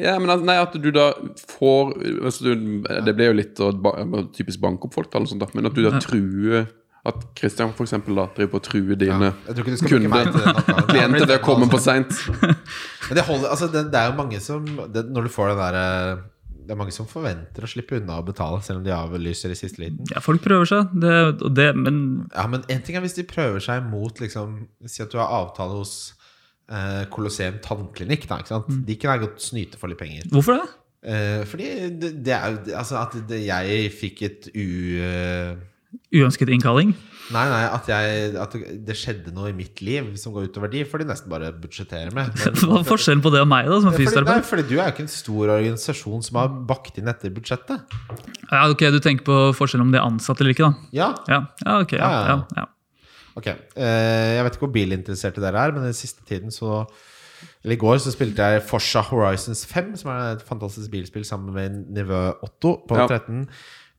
[SPEAKER 5] Ja, men at, nei, at du da får altså du, Det blir jo litt å ba, typisk banke opp folk, da, eller sånt, da, men at du da truer At Christian for eksempel, da, driver på å true dine
[SPEAKER 3] Jeg tror ikke du skal bruke meg
[SPEAKER 5] kunder.
[SPEAKER 3] til den oppgaven.
[SPEAKER 5] Klienter ved å komme for seint.
[SPEAKER 3] Men det, holder, altså, det, det er jo mange som det, Når du får den derre Det er mange som forventer å slippe unna å betale, selv om de avlyser i siste liten.
[SPEAKER 4] Ja, folk prøver seg, det, og det, men
[SPEAKER 3] Ja, men en ting er hvis de prøver seg mot liksom, Si at du har avtale hos eh, Colosseum tannklinikk. Da, ikke sant?
[SPEAKER 4] Mm.
[SPEAKER 3] De kan jeg godt snyte for litt penger.
[SPEAKER 4] hvorfor det?
[SPEAKER 3] Eh, fordi det, det er jo Altså at det, jeg fikk et u... eh,
[SPEAKER 4] Uønsket innkalling?
[SPEAKER 3] Nei, nei, at, jeg, at det- det skjedde noe i mitt liv som går utover de, får de nesten bare budsjettere med. Men,
[SPEAKER 4] Hva er forskjellen på det og meg, da, som er
[SPEAKER 3] fordi, nei,
[SPEAKER 4] fysioterapeut?
[SPEAKER 3] fordi du er jo ikke en stor organisasjon som har bakt inn etter budsjettet.
[SPEAKER 4] Ja, ok, Du tenker på forskjellen om de er ansatt eller ikke, da.
[SPEAKER 3] Ja,
[SPEAKER 4] Ja, ja ok. Ja,
[SPEAKER 3] Ja, ja,
[SPEAKER 4] ja,
[SPEAKER 3] ja.
[SPEAKER 4] ja.
[SPEAKER 3] Ok, eh, Jeg vet ikke hvor bilinteresserte dere er, men den siste tiden så Eller i går så spilte jeg Forsa Horizons 5, som er et fantastisk bilspill sammen med nivå Otto på
[SPEAKER 5] Ja.
[SPEAKER 3] 13.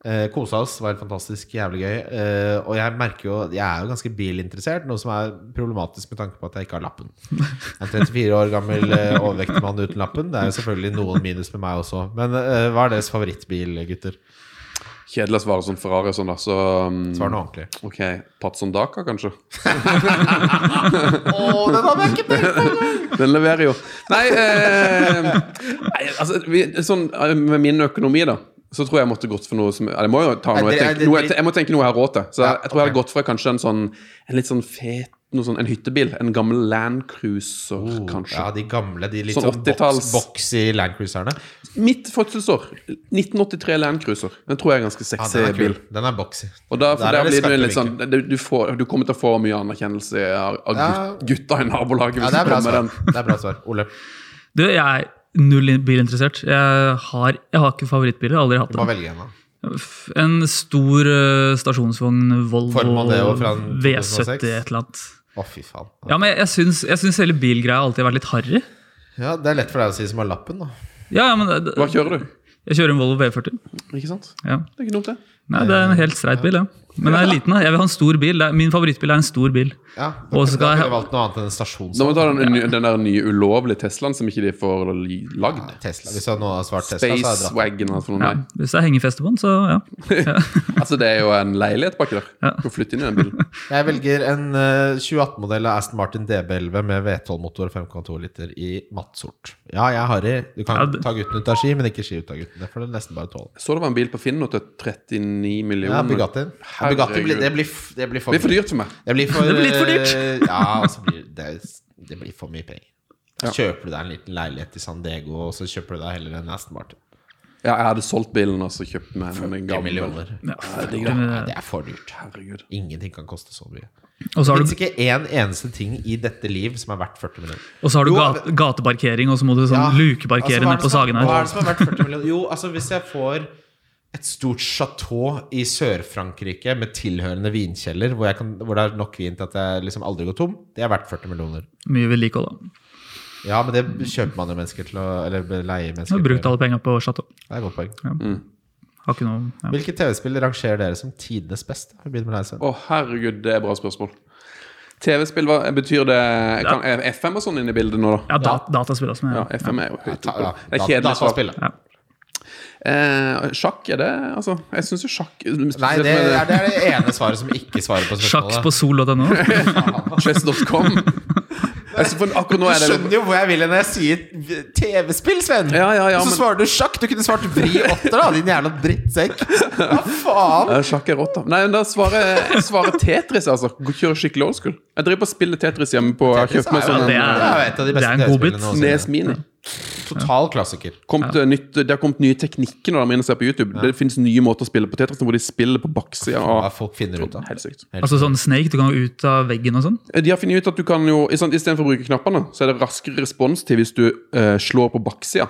[SPEAKER 3] Eh, Kosa oss, var helt fantastisk, jævlig gøy. Eh, og jeg merker jo Jeg er jo ganske bilinteressert, noe som er problematisk med tanke på at jeg ikke har lappen. Jeg er 34 år gammel eh, overvektig mann uten lappen. Det er jo selvfølgelig noen minus med meg også. Men eh, hva er deres favorittbil, gutter?
[SPEAKER 5] Kjedelig å svare sånn Ferrari og sånn, da. Så um,
[SPEAKER 3] Svar nå ordentlig.
[SPEAKER 5] OK. Patson Daka, kanskje?
[SPEAKER 3] Oh, den hadde jeg ikke
[SPEAKER 5] Den leverer jo. Nei, eh, nei altså vi, sånn, eh, Med min økonomi, da, så tror jeg jeg måtte gått for noe som eller Jeg må jo ta
[SPEAKER 3] Nei,
[SPEAKER 5] noe jeg,
[SPEAKER 3] det er-
[SPEAKER 5] tenker, noe jeg, jeg må tenke noe jeg har råd til. Så jeg,
[SPEAKER 3] Ja,
[SPEAKER 5] jeg tror jeg
[SPEAKER 3] ok.
[SPEAKER 5] hadde gått for kanskje en sånn En litt sånn fet noe sånn, En hyttebil. En gammel landcruiser, kanskje.
[SPEAKER 3] Oh, Ja, de gamle, de litt
[SPEAKER 5] Sånn
[SPEAKER 3] sånn
[SPEAKER 5] 80-talls.
[SPEAKER 3] boks- boxy landcruiserne.
[SPEAKER 5] Mitt fødselsår. 1983 landcruiser. Den tror jeg er ganske
[SPEAKER 3] Ja,
[SPEAKER 5] sexy
[SPEAKER 3] den er
[SPEAKER 5] bil.
[SPEAKER 3] kul. Den er boxy.
[SPEAKER 5] Og da, for
[SPEAKER 3] Der er
[SPEAKER 5] der
[SPEAKER 3] det
[SPEAKER 5] blir du en litt sånn
[SPEAKER 3] skarpe
[SPEAKER 5] du, du, får, du kommer til å få mye anerkjennelse av, av
[SPEAKER 3] Ja.
[SPEAKER 5] gut- gutta i nabolaget.
[SPEAKER 3] Ja,
[SPEAKER 5] Hvis
[SPEAKER 3] det er
[SPEAKER 5] du
[SPEAKER 3] bra
[SPEAKER 5] kommer med
[SPEAKER 3] svar.
[SPEAKER 5] den.
[SPEAKER 3] Det er bra svar. Ole,
[SPEAKER 4] Du, jeg er null in- bilinteressert. Jeg har, jeg har ikke favorittbiler. jeg har Aldri hatt
[SPEAKER 3] du må
[SPEAKER 4] det.
[SPEAKER 3] velge en, da.
[SPEAKER 4] F- En stor eh, stasjonsvogn
[SPEAKER 3] Forma det jo
[SPEAKER 4] Volvo
[SPEAKER 3] fra 2006.
[SPEAKER 4] V70 et eller annet.
[SPEAKER 3] Å, fy faen.
[SPEAKER 4] Ja, men jeg, jeg, syns, jeg syns hele bilgreia alltid har vært litt harry.
[SPEAKER 3] Ja, Det er lett for deg å si som har lappen, da.
[SPEAKER 4] Ja, ja, men det- det-
[SPEAKER 5] Hva kjører du?
[SPEAKER 4] jeg kjører en Volvo V40.
[SPEAKER 5] Ikke sant?
[SPEAKER 4] Ja.
[SPEAKER 5] Det er ikke dumt, det.
[SPEAKER 4] Nei, det er en helt streit bil, ja. Men jeg er liten. da. Jeg vil ha en stor bil. Det er- Min favorittbil er en stor bil.
[SPEAKER 3] Ja, Da
[SPEAKER 4] Og
[SPEAKER 3] kunne
[SPEAKER 4] så
[SPEAKER 3] da
[SPEAKER 4] skal jeg-
[SPEAKER 3] kunne du valgt noe annet enn en
[SPEAKER 5] Da må
[SPEAKER 3] stasjonsvogn.
[SPEAKER 5] vi ta den, ny- den der nye ulovlige Teslaen som ikke de får li- lagd.
[SPEAKER 3] Nei, Tesla. Hvis jeg nå har svart Tesla, så hadde jeg dratt.
[SPEAKER 5] Spacewagon eller noe.
[SPEAKER 4] Ja,
[SPEAKER 5] Nei.
[SPEAKER 4] hvis det er hengefeste på den, så ja.
[SPEAKER 5] Altså, det er jo en leilighet baki der.
[SPEAKER 4] Ja.
[SPEAKER 5] Du kan flytte inn i den bilen.
[SPEAKER 3] Jeg velger en eh, 2018-modell av Aston Martin DB11 med V12-motor og 5,2 liter i matt sort. Ja, jeg er harry. Du kan
[SPEAKER 4] Ja, det-
[SPEAKER 3] ta gutten ut av ski, men ikke ski ut av gutten. Det får du nesten bare tåle.
[SPEAKER 5] Så det var en bil på Finn nå til 39 millioner.
[SPEAKER 3] Ja, Bugattien. Ja, Bugatti blir, det, blir, f- det blir for
[SPEAKER 5] Det blir for
[SPEAKER 3] mye.
[SPEAKER 5] dyrt for meg.
[SPEAKER 3] Det blir for,
[SPEAKER 4] Det blir litt for dyrt.
[SPEAKER 3] eh, ja, altså blir det, det blir for mye penger. Da Kjøper du deg en liten leilighet i San Diego, og så kjøper du deg heller en Aston Martin.
[SPEAKER 5] Ja, jeg hadde solgt bilen og så kjøpt meg en
[SPEAKER 3] 10
[SPEAKER 5] gammel.
[SPEAKER 3] millioner.
[SPEAKER 4] ja.
[SPEAKER 3] Ja, det er for dyrt.
[SPEAKER 5] Herregud.
[SPEAKER 3] Ingenting kan koste så mye. Det
[SPEAKER 4] Og så har du,
[SPEAKER 3] fins ikke én eneste ting i dette liv som er verdt 40 millioner.
[SPEAKER 4] og så har du
[SPEAKER 3] Jo,
[SPEAKER 4] gate, gateparkering, og så må du sånn
[SPEAKER 3] Ja, altså, hva er
[SPEAKER 4] lukeparkere nede på
[SPEAKER 3] det som-
[SPEAKER 4] Sagen
[SPEAKER 3] Hva er
[SPEAKER 4] her.
[SPEAKER 3] det som er verdt 40 millioner? Jo, altså hvis jeg får et stort chateau i Sør-Frankrike med tilhørende vinkjeller, hvor, jeg kan, hvor det er nok vin til at jeg liksom aldri går tom, det er verdt 40 millioner.
[SPEAKER 4] Mye vedlikehold, da.
[SPEAKER 3] Ja, men det kjøper man jo mennesker til å Eller leier
[SPEAKER 4] Jeg
[SPEAKER 3] mennesker
[SPEAKER 4] har brukt
[SPEAKER 3] til å
[SPEAKER 4] alle penga på Chateau.
[SPEAKER 3] gjøre. Det er et godt poeng.
[SPEAKER 4] Har ikke noe ja.
[SPEAKER 3] Hvilke TV-spill rangerer dere som tidenes beste? Vi begynner med deg, Sven.
[SPEAKER 5] Å, herregud, det er bra spørsmål. TV-spill, hva betyr det kan, Er FM og sånn inne i bildet nå, da?
[SPEAKER 4] ja, dat dataspill også. Men,
[SPEAKER 5] Ja,
[SPEAKER 4] ja.
[SPEAKER 5] FM er jo høyt
[SPEAKER 3] Ta-
[SPEAKER 5] oppe.
[SPEAKER 3] ja,
[SPEAKER 5] da. Det er
[SPEAKER 3] dat-
[SPEAKER 5] kjedelig svar.
[SPEAKER 3] dataspill, da.
[SPEAKER 4] Ja.
[SPEAKER 5] Eh, sjakk, er det Altså, jeg syns jo sjakk
[SPEAKER 3] Nei, det er, det er det ene svaret som ikke svarer på
[SPEAKER 4] Sjakk på
[SPEAKER 3] spørsmålet.
[SPEAKER 4] sol.no.
[SPEAKER 5] Chess.com. Jeg synes for- Akkurat nå er
[SPEAKER 3] Du
[SPEAKER 5] det litt-
[SPEAKER 3] skjønner jo hvor jeg vil når jeg sier TV-spill, Sven!
[SPEAKER 5] Ja, ja, ja,
[SPEAKER 3] Og så
[SPEAKER 5] men-
[SPEAKER 3] svarer du sjakk! Du kunne svart vri åtter, da, din jævla drittsekk! Hva faen?
[SPEAKER 5] Eh, Sjakk er rått, da. Nei, men da svarer jeg svarer Tetris, altså. Kjører skikkelig old school. Jeg driver på og spiller Tetris hjemme på Jeg har kjøpt meg
[SPEAKER 3] Tetris jo altså.
[SPEAKER 5] sånn
[SPEAKER 4] det
[SPEAKER 5] en
[SPEAKER 4] er-
[SPEAKER 3] jo et av de
[SPEAKER 4] det er
[SPEAKER 3] beste
[SPEAKER 4] en godbit.
[SPEAKER 3] TV-spillene noensinne.
[SPEAKER 5] Nes Mini.
[SPEAKER 3] Total klassiker.
[SPEAKER 5] Kom til nytt, det har kommet nye teknikker når de ser på YouTube. Det finnes nye måter å spille på Tetris hvor de spiller på baksida
[SPEAKER 3] Hva
[SPEAKER 5] av
[SPEAKER 3] folk finner ut av.
[SPEAKER 5] Helt sykt.
[SPEAKER 4] Altså sånn Snake, du kan gå ut av veggen og sånn.
[SPEAKER 5] Eh, De har funnet ut at du kan jo i sånn- i stedet for å bruke knappene, så er det raskere responstid hvis du eh, slår på baksida.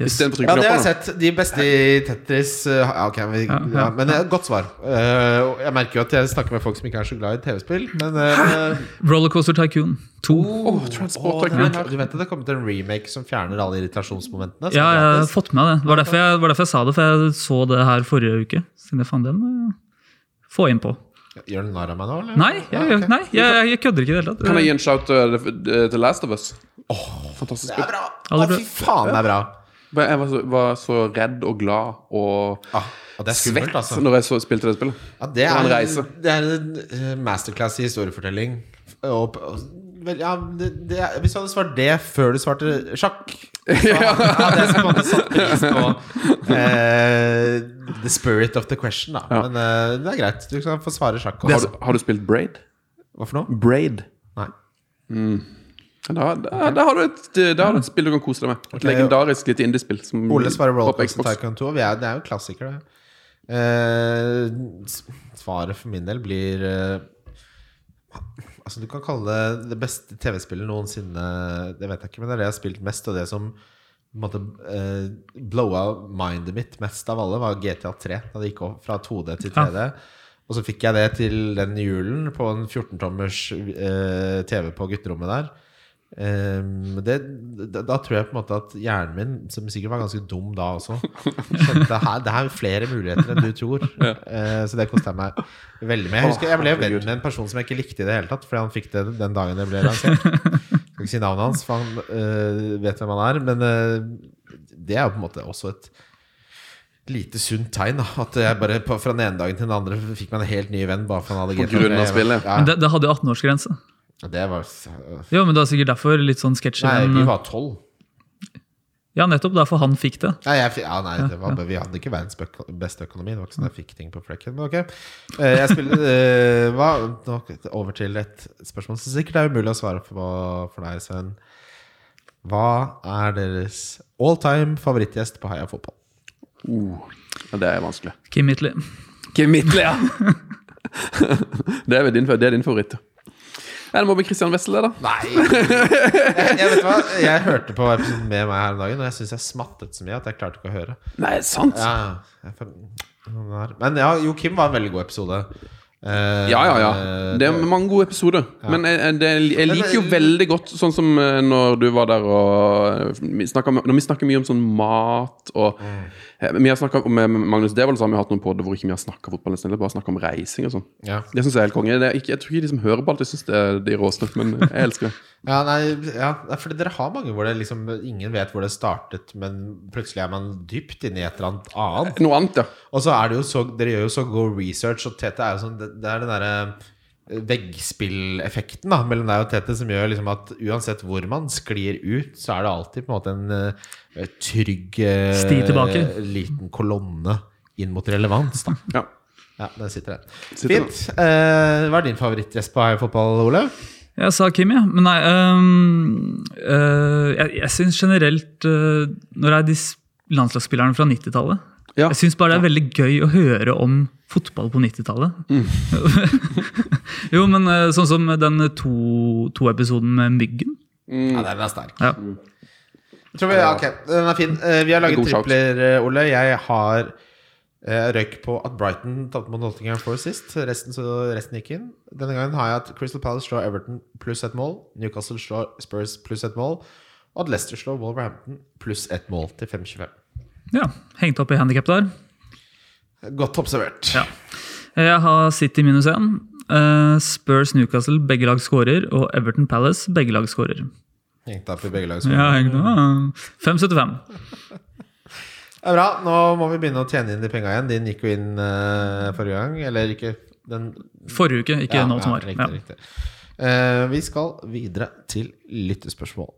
[SPEAKER 4] Yes.
[SPEAKER 5] Istedenfor å trykke
[SPEAKER 3] Ja, det har jeg
[SPEAKER 5] knappene.
[SPEAKER 3] sett. De beste i Tetris uh, ja, ok, vi, ja,
[SPEAKER 4] Ja, ja.
[SPEAKER 3] Men eh, godt svar. Eh, og jeg merker jo at jeg snakker med folk som ikke er så glad i TV-spill, men eh,
[SPEAKER 4] Rollercoaster Tycoon 2.
[SPEAKER 5] Åh, Transport
[SPEAKER 3] Åh, den
[SPEAKER 5] Tycoon.
[SPEAKER 3] er- Du vet at det kommer til en remake som fjerner alle irritasjonsmomentene? som
[SPEAKER 4] Ja,
[SPEAKER 3] er
[SPEAKER 4] jeg har
[SPEAKER 3] gratis?
[SPEAKER 4] fått med meg det. Det var derfor jeg, var derfor jeg sa det, for jeg så det her forrige uke. Så tenkte jeg, faen, den må jeg få inn på.
[SPEAKER 3] Gjør du narr av meg nå, eller?
[SPEAKER 4] Nei, jeg,
[SPEAKER 3] Ja, ok.
[SPEAKER 4] nei, jeg, jeg kødder ikke i det hele
[SPEAKER 5] Kan
[SPEAKER 4] tatt.
[SPEAKER 5] jeg gi en shout eh, til The Last of Us? Fantastisk
[SPEAKER 3] Det
[SPEAKER 5] spill.
[SPEAKER 3] er bra!
[SPEAKER 4] Alle
[SPEAKER 3] Å,
[SPEAKER 4] bra.
[SPEAKER 3] fy faen, det er bra.
[SPEAKER 5] Men Jeg var så, var så redd og glad og
[SPEAKER 3] Ah, og det er skummelt,
[SPEAKER 5] svett
[SPEAKER 3] altså.
[SPEAKER 5] når jeg så, spilte det spillet.
[SPEAKER 3] Ja, det,
[SPEAKER 5] var en
[SPEAKER 3] er,
[SPEAKER 5] reise.
[SPEAKER 3] det er en eh, masterclass i historiefortelling. Og, og, vel, ja, det, det, er- hvis du hadde svart det før du svarte sjakk så hadde jeg på en måte satt pris på eh, the spirit of the question, da.
[SPEAKER 5] Ja.
[SPEAKER 3] Men eh, det er greit. Du kan få svare sjakk.
[SPEAKER 5] Har
[SPEAKER 3] Også.
[SPEAKER 5] du, har du spilt Braid?
[SPEAKER 3] Hva for noe?
[SPEAKER 5] Braid.
[SPEAKER 3] Nei.
[SPEAKER 5] Da, da, da, har du et, da har du et spill du kan kose deg med. Et legendarisk litt indiespill. som-
[SPEAKER 3] Ole svarer
[SPEAKER 5] Mm, på
[SPEAKER 3] Rollercoaster
[SPEAKER 5] Xbox.
[SPEAKER 3] Tycoon 2. Vi er, det er jo klassiker, det. Eh, s- svaret for min del blir eh, Altså Du kan kalle det det beste TV-spillet noensinne. Det vet jeg ikke, men det er det jeg har spilt mest. Og det som på en måte, eh, blowa mindet mitt mest av alle, var GTA 3. Da det gikk opp fra 2D til 3D. Og så fikk jeg det til den julen på en 14-tommers eh, TV på gutterommet der. Ehm, det, da, da tror jeg på en måte at hjernen min, som sikkert var ganske dum da også, skjønte her, det her er flere muligheter enn du tror. Eh, så det kosta meg veldig mye. Jeg husker jeg ble venn med en person som jeg ikke likte i det hele tatt, fordi han fikk det den dagen det ble lansert. Jeg skal ikke si navnet hans, for han eh, vet hvem han er. Men eh, det er jo på en måte også et lite sunt tegn. da. At jeg bare på, fra den ene dagen til den andre fikk meg en helt ny venn bare for han hadde
[SPEAKER 5] På
[SPEAKER 3] GTA
[SPEAKER 5] grunn av
[SPEAKER 3] tre.
[SPEAKER 5] spillet.
[SPEAKER 4] Men det, det hadde jo 18-årsgrense.
[SPEAKER 3] Ja, det var
[SPEAKER 4] Jo, men det var sikkert derfor litt sånn sketsjy.
[SPEAKER 3] Nei, vi
[SPEAKER 4] men-
[SPEAKER 3] var tolv.
[SPEAKER 4] Ja, nettopp derfor han fikk det.
[SPEAKER 3] Nei, jeg, fi- ja, nei det var, vi hadde ikke verdens bøk- beste økonomi. Det var ikke sånn jeg fikk ting på flekken. Men ok. Eh, Jeg spiller, eh, hva, nå over til et spørsmål som sikkert er umulig å svare på for deg, Sven. Hva er deres all time favorittgjest på Heia fotball?
[SPEAKER 5] Uh, ja, det er vanskelig.
[SPEAKER 4] Kim Hitley.
[SPEAKER 5] Kim Midtle, ja! det, er vel din, det er din favoritt. Ja, det må bli Christian Wessel, det, da.
[SPEAKER 3] Nei! Jeg, jeg vet hva, jeg hørte på episoden med meg her om dagen, og jeg syns jeg smattet så mye at jeg klarte ikke å høre.
[SPEAKER 5] Nei, sant?
[SPEAKER 3] Ja, jeg, han er- men ja, Jo Kim var en veldig god episode. Eh,
[SPEAKER 5] Ja, ja, ja. Det er mange gode episoder. Men jeg, jeg- det, jeg liker
[SPEAKER 3] eh,
[SPEAKER 5] jo veldig godt sånn som eh, når du var der og eh, vi snakket, om- Når vi snakker mye om sånn mat og
[SPEAKER 3] Mm.
[SPEAKER 5] eh, Vi har snakket om med Magnus Devold, så har vi hatt noen podder hvor ikke vi har snakka fotball, nesten, eller bare snakket om reising og sånn.
[SPEAKER 3] ja.
[SPEAKER 5] Det syns jeg er helt konge. Det er ikke, jeg tror ikke de som hører på alt, syns det er de råeste, men jeg elsker det.
[SPEAKER 3] Ja, nei, ja, det er fordi dere har mange hvor det liksom ingen vet hvor det startet, men plutselig er man dypt inne i et eller annet annet.
[SPEAKER 5] Noe annet, ja.
[SPEAKER 3] Og så er det jo så Dere gjør jo så god research, og Tete er jo sånn Det, det er den derre veggspilleffekten da, mellom deg og Tete som gjør liksom at uansett hvor man sklir ut, så er det alltid på en måte en eh, trygg eh,
[SPEAKER 4] Sti tilbake.
[SPEAKER 3] liten kolonne inn mot relevans, da.
[SPEAKER 5] ja.
[SPEAKER 3] Ja, der sitter den.
[SPEAKER 5] Sitter den.
[SPEAKER 3] Fint. Eh, hva er din favorittgjest på fotball, Ole?
[SPEAKER 4] Jeg sa Kim, ja. Men nei øhm, øh, Jeg, jeg syns generelt øh, Når det er de s- landslagsspillerne fra 90-tallet
[SPEAKER 5] Ja.
[SPEAKER 4] Jeg syns bare det er veldig gøy å høre om fotball på 90-tallet.
[SPEAKER 3] Mm.
[SPEAKER 4] jo, men øh, sånn som den to- to-episoden med Myggen.
[SPEAKER 3] Ja, den er sterk.
[SPEAKER 4] Ja.
[SPEAKER 3] Tror vi, ok, den er fin. Eh, Vi har laget
[SPEAKER 5] God shout.
[SPEAKER 3] tripler, eh, Ole. Jeg har eh, røyk på at Brighton tapte mot Nottingham Forest sist. Resten, så resten gikk inn. Denne gangen har jeg at Crystal Palace slår Everton pluss ett mål. Newcastle slår Spurs pluss ett mål. Og at Leicester slår Wolverhampton pluss ett mål til 5,25.
[SPEAKER 4] ja. Hengt opp i handikap der.
[SPEAKER 3] Godt observert.
[SPEAKER 4] Ja. Jeg har City minus én. øh, Spurs Newcastle, begge lag skårer. Og Everton Palace, begge lag skårer.
[SPEAKER 3] Hengt opp i begge lag.
[SPEAKER 4] Ja, hengt opp.
[SPEAKER 3] Mm.
[SPEAKER 4] Ja. 5,75.
[SPEAKER 3] Det er bra. Nå må vi begynne å tjene inn de penga igjen. Din gikk jo inn eh, forrige gang. Eller ikke den
[SPEAKER 4] Forrige uke, ikke
[SPEAKER 3] Ja,
[SPEAKER 4] nå som
[SPEAKER 3] ja,
[SPEAKER 4] var.
[SPEAKER 3] Riktig,
[SPEAKER 4] Ja.
[SPEAKER 3] riktig. Eh, vi skal videre til lyttespørsmål.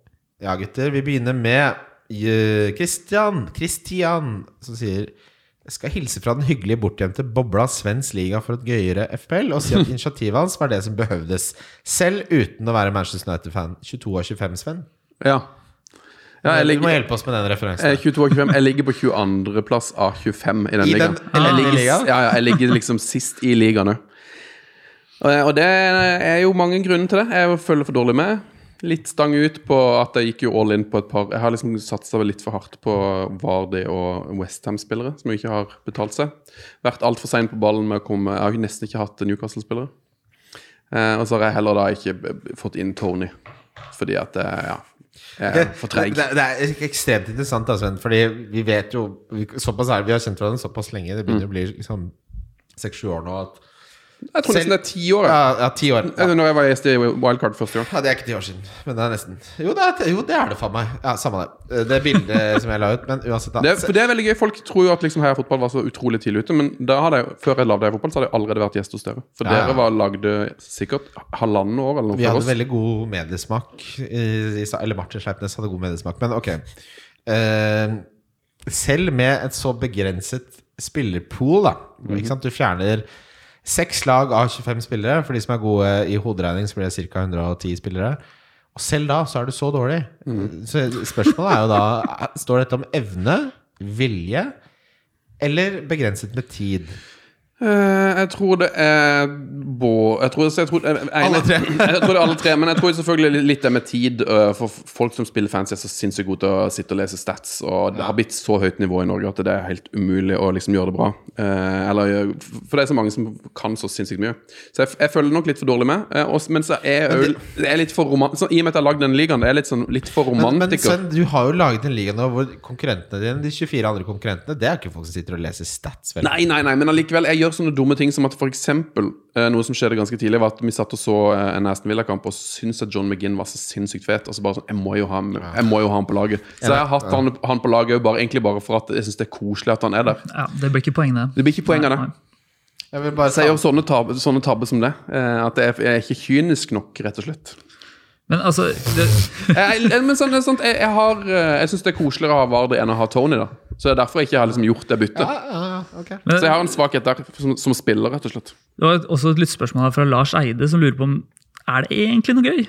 [SPEAKER 3] Ja, gutter. Vi begynner med eh, Christian, Christian som sier jeg skal hilse fra den hyggelige bortgjemte bobla Svensk Liga for et gøyere FPL og si at initiativet hans var det som behøvdes, selv uten å være Manchester United-fan. 22 og 25, Sven.
[SPEAKER 5] ja. ja jeg,
[SPEAKER 3] eh, du må
[SPEAKER 5] ligger,
[SPEAKER 3] hjelpe oss med den
[SPEAKER 5] jeg, er
[SPEAKER 3] referansen.
[SPEAKER 5] 22 av 25. jeg ligger på 22.-plass av 25 i den
[SPEAKER 3] I
[SPEAKER 5] ligaen.
[SPEAKER 3] den
[SPEAKER 5] Ja,
[SPEAKER 3] elendige ligaen.
[SPEAKER 5] ja, jeg ligger liksom sist i ligaen òg. Og det er jo mange grunner til det. Jeg følger for dårlig med. Litt stang ut på at jeg gikk jo all in på et par Jeg har liksom satsa litt for hardt på Vardy og Westham-spillere, som jo ikke har betalt seg. Vært altfor sein på ballen med å komme Jeg har jo nesten ikke hatt Newcastle-spillere. Eh, og så har jeg heller da ikke b- b- fått inn Tony, fordi at eh, ja, jeg er for treig.
[SPEAKER 3] Det, det er ekstremt interessant, da, Sven. Fordi vi vet jo vi- Såpass er det, Vi har kjent hverandre såpass lenge. Det
[SPEAKER 5] Mm.
[SPEAKER 3] begynner å bli liksom seks-sju år nå. At
[SPEAKER 5] Jeg tror nesten det er ti år. jeg.
[SPEAKER 3] Ja, ja ti år. Ja.
[SPEAKER 5] Eller Når jeg var gjest i Wildcard første gang.
[SPEAKER 3] Ja, det er ikke ti år siden, men det er nesten. Jo, det er, jo, det, er det faen meg. Ja, Samme det. Det bildet som jeg la ut, men uansett, da.
[SPEAKER 5] Det, er- for det er veldig gøy. Folk tror jo at liksom Heia Fotball var så utrolig tidlig ute. Men da hadde jeg, før jeg lagde Heia Fotball, så hadde jeg allerede vært gjest hos dere. For
[SPEAKER 3] Ja, ja.
[SPEAKER 5] dere var, lagde sikkert halvannet år eller noe
[SPEAKER 3] vi
[SPEAKER 5] før
[SPEAKER 3] hadde
[SPEAKER 5] oss.
[SPEAKER 3] veldig god mediesmak. eh, i sa- Eller Martin Sleipnes hadde god mediesmak, men ok. Eh, selv med et så begrenset spillerpool, da ikke sant? Du fjerner seks lag av 25 spillere. For de som er gode i hoderegning, så blir det ca. 110 spillere. Og selv da så er du så dårlig. Så spørsmålet er jo da Står dette om evne, vilje eller begrenset med tid?
[SPEAKER 5] Eh, jeg tror det er bå... Jeg tror, jeg tror, jeg, jeg,
[SPEAKER 3] Alle tre.
[SPEAKER 5] jeg tror det er alle tre. Men jeg tror selvfølgelig litt det med tid. eh, for folk som spiller fancy, er så sinnssykt gode til å sitte og lese stats. Og det har blitt så høyt nivå i Norge at det er helt umulig å liksom gjøre det bra. Eh, eller, gjøre- for det er så mange som kan så sinnssykt mye. Så jeg, jeg følger nok litt for dårlig med. eh, og, s- men så er jeg jo det er litt for roman, så, I og med at jeg har lagd den ligaen, det er litt, sånn, litt for
[SPEAKER 3] Men, men
[SPEAKER 5] romantiker.
[SPEAKER 3] Sven, du har jo laget en liga nå hvor konkurrentene dine, de 24 andre konkurrentene, det er jo ikke folk som sitter og leser stats, vel?
[SPEAKER 5] Nei, nei, nei, men allikevel, jeg gjør sånne dumme ting som at for eksempel, eh, noe som skjedde ganske tidlig, var at vi satt og så eh, en Aston Villa-kamp og syntes at John McGinn var så sinnssykt fet. Og så bare sånn, jeg må jo ha, ham- jeg må jo ha han på laget. Så jeg har hatt han, han på laget bare, egentlig bare for at jeg syns det er koselig at han er der.
[SPEAKER 4] Ja, det blir ikke poeng, det.
[SPEAKER 5] Det blir ikke poeng av det.
[SPEAKER 4] Nei, nei.
[SPEAKER 3] Jeg vil bare
[SPEAKER 5] Så jeg gjør sånne tabber sånne tabber som det. eh, At jeg jeg er ikke kynisk nok, rett og slett.
[SPEAKER 4] Men altså det,
[SPEAKER 5] Jeg, jeg, men sånn, det er sånt, jeg, jeg, har, eh, jeg syns det er koseligere å ha Vardy enn å ha Tony, da. Så det er derfor jeg ikke har liksom gjort det byttet.
[SPEAKER 3] Ja, ja, ja, ok.
[SPEAKER 4] men,
[SPEAKER 5] Så jeg har en svakhet der som, som spiller, rett og slett.
[SPEAKER 4] Det var et- også et lyttspørsmål her fra Lars Eide, som lurer på om er det egentlig noe gøy,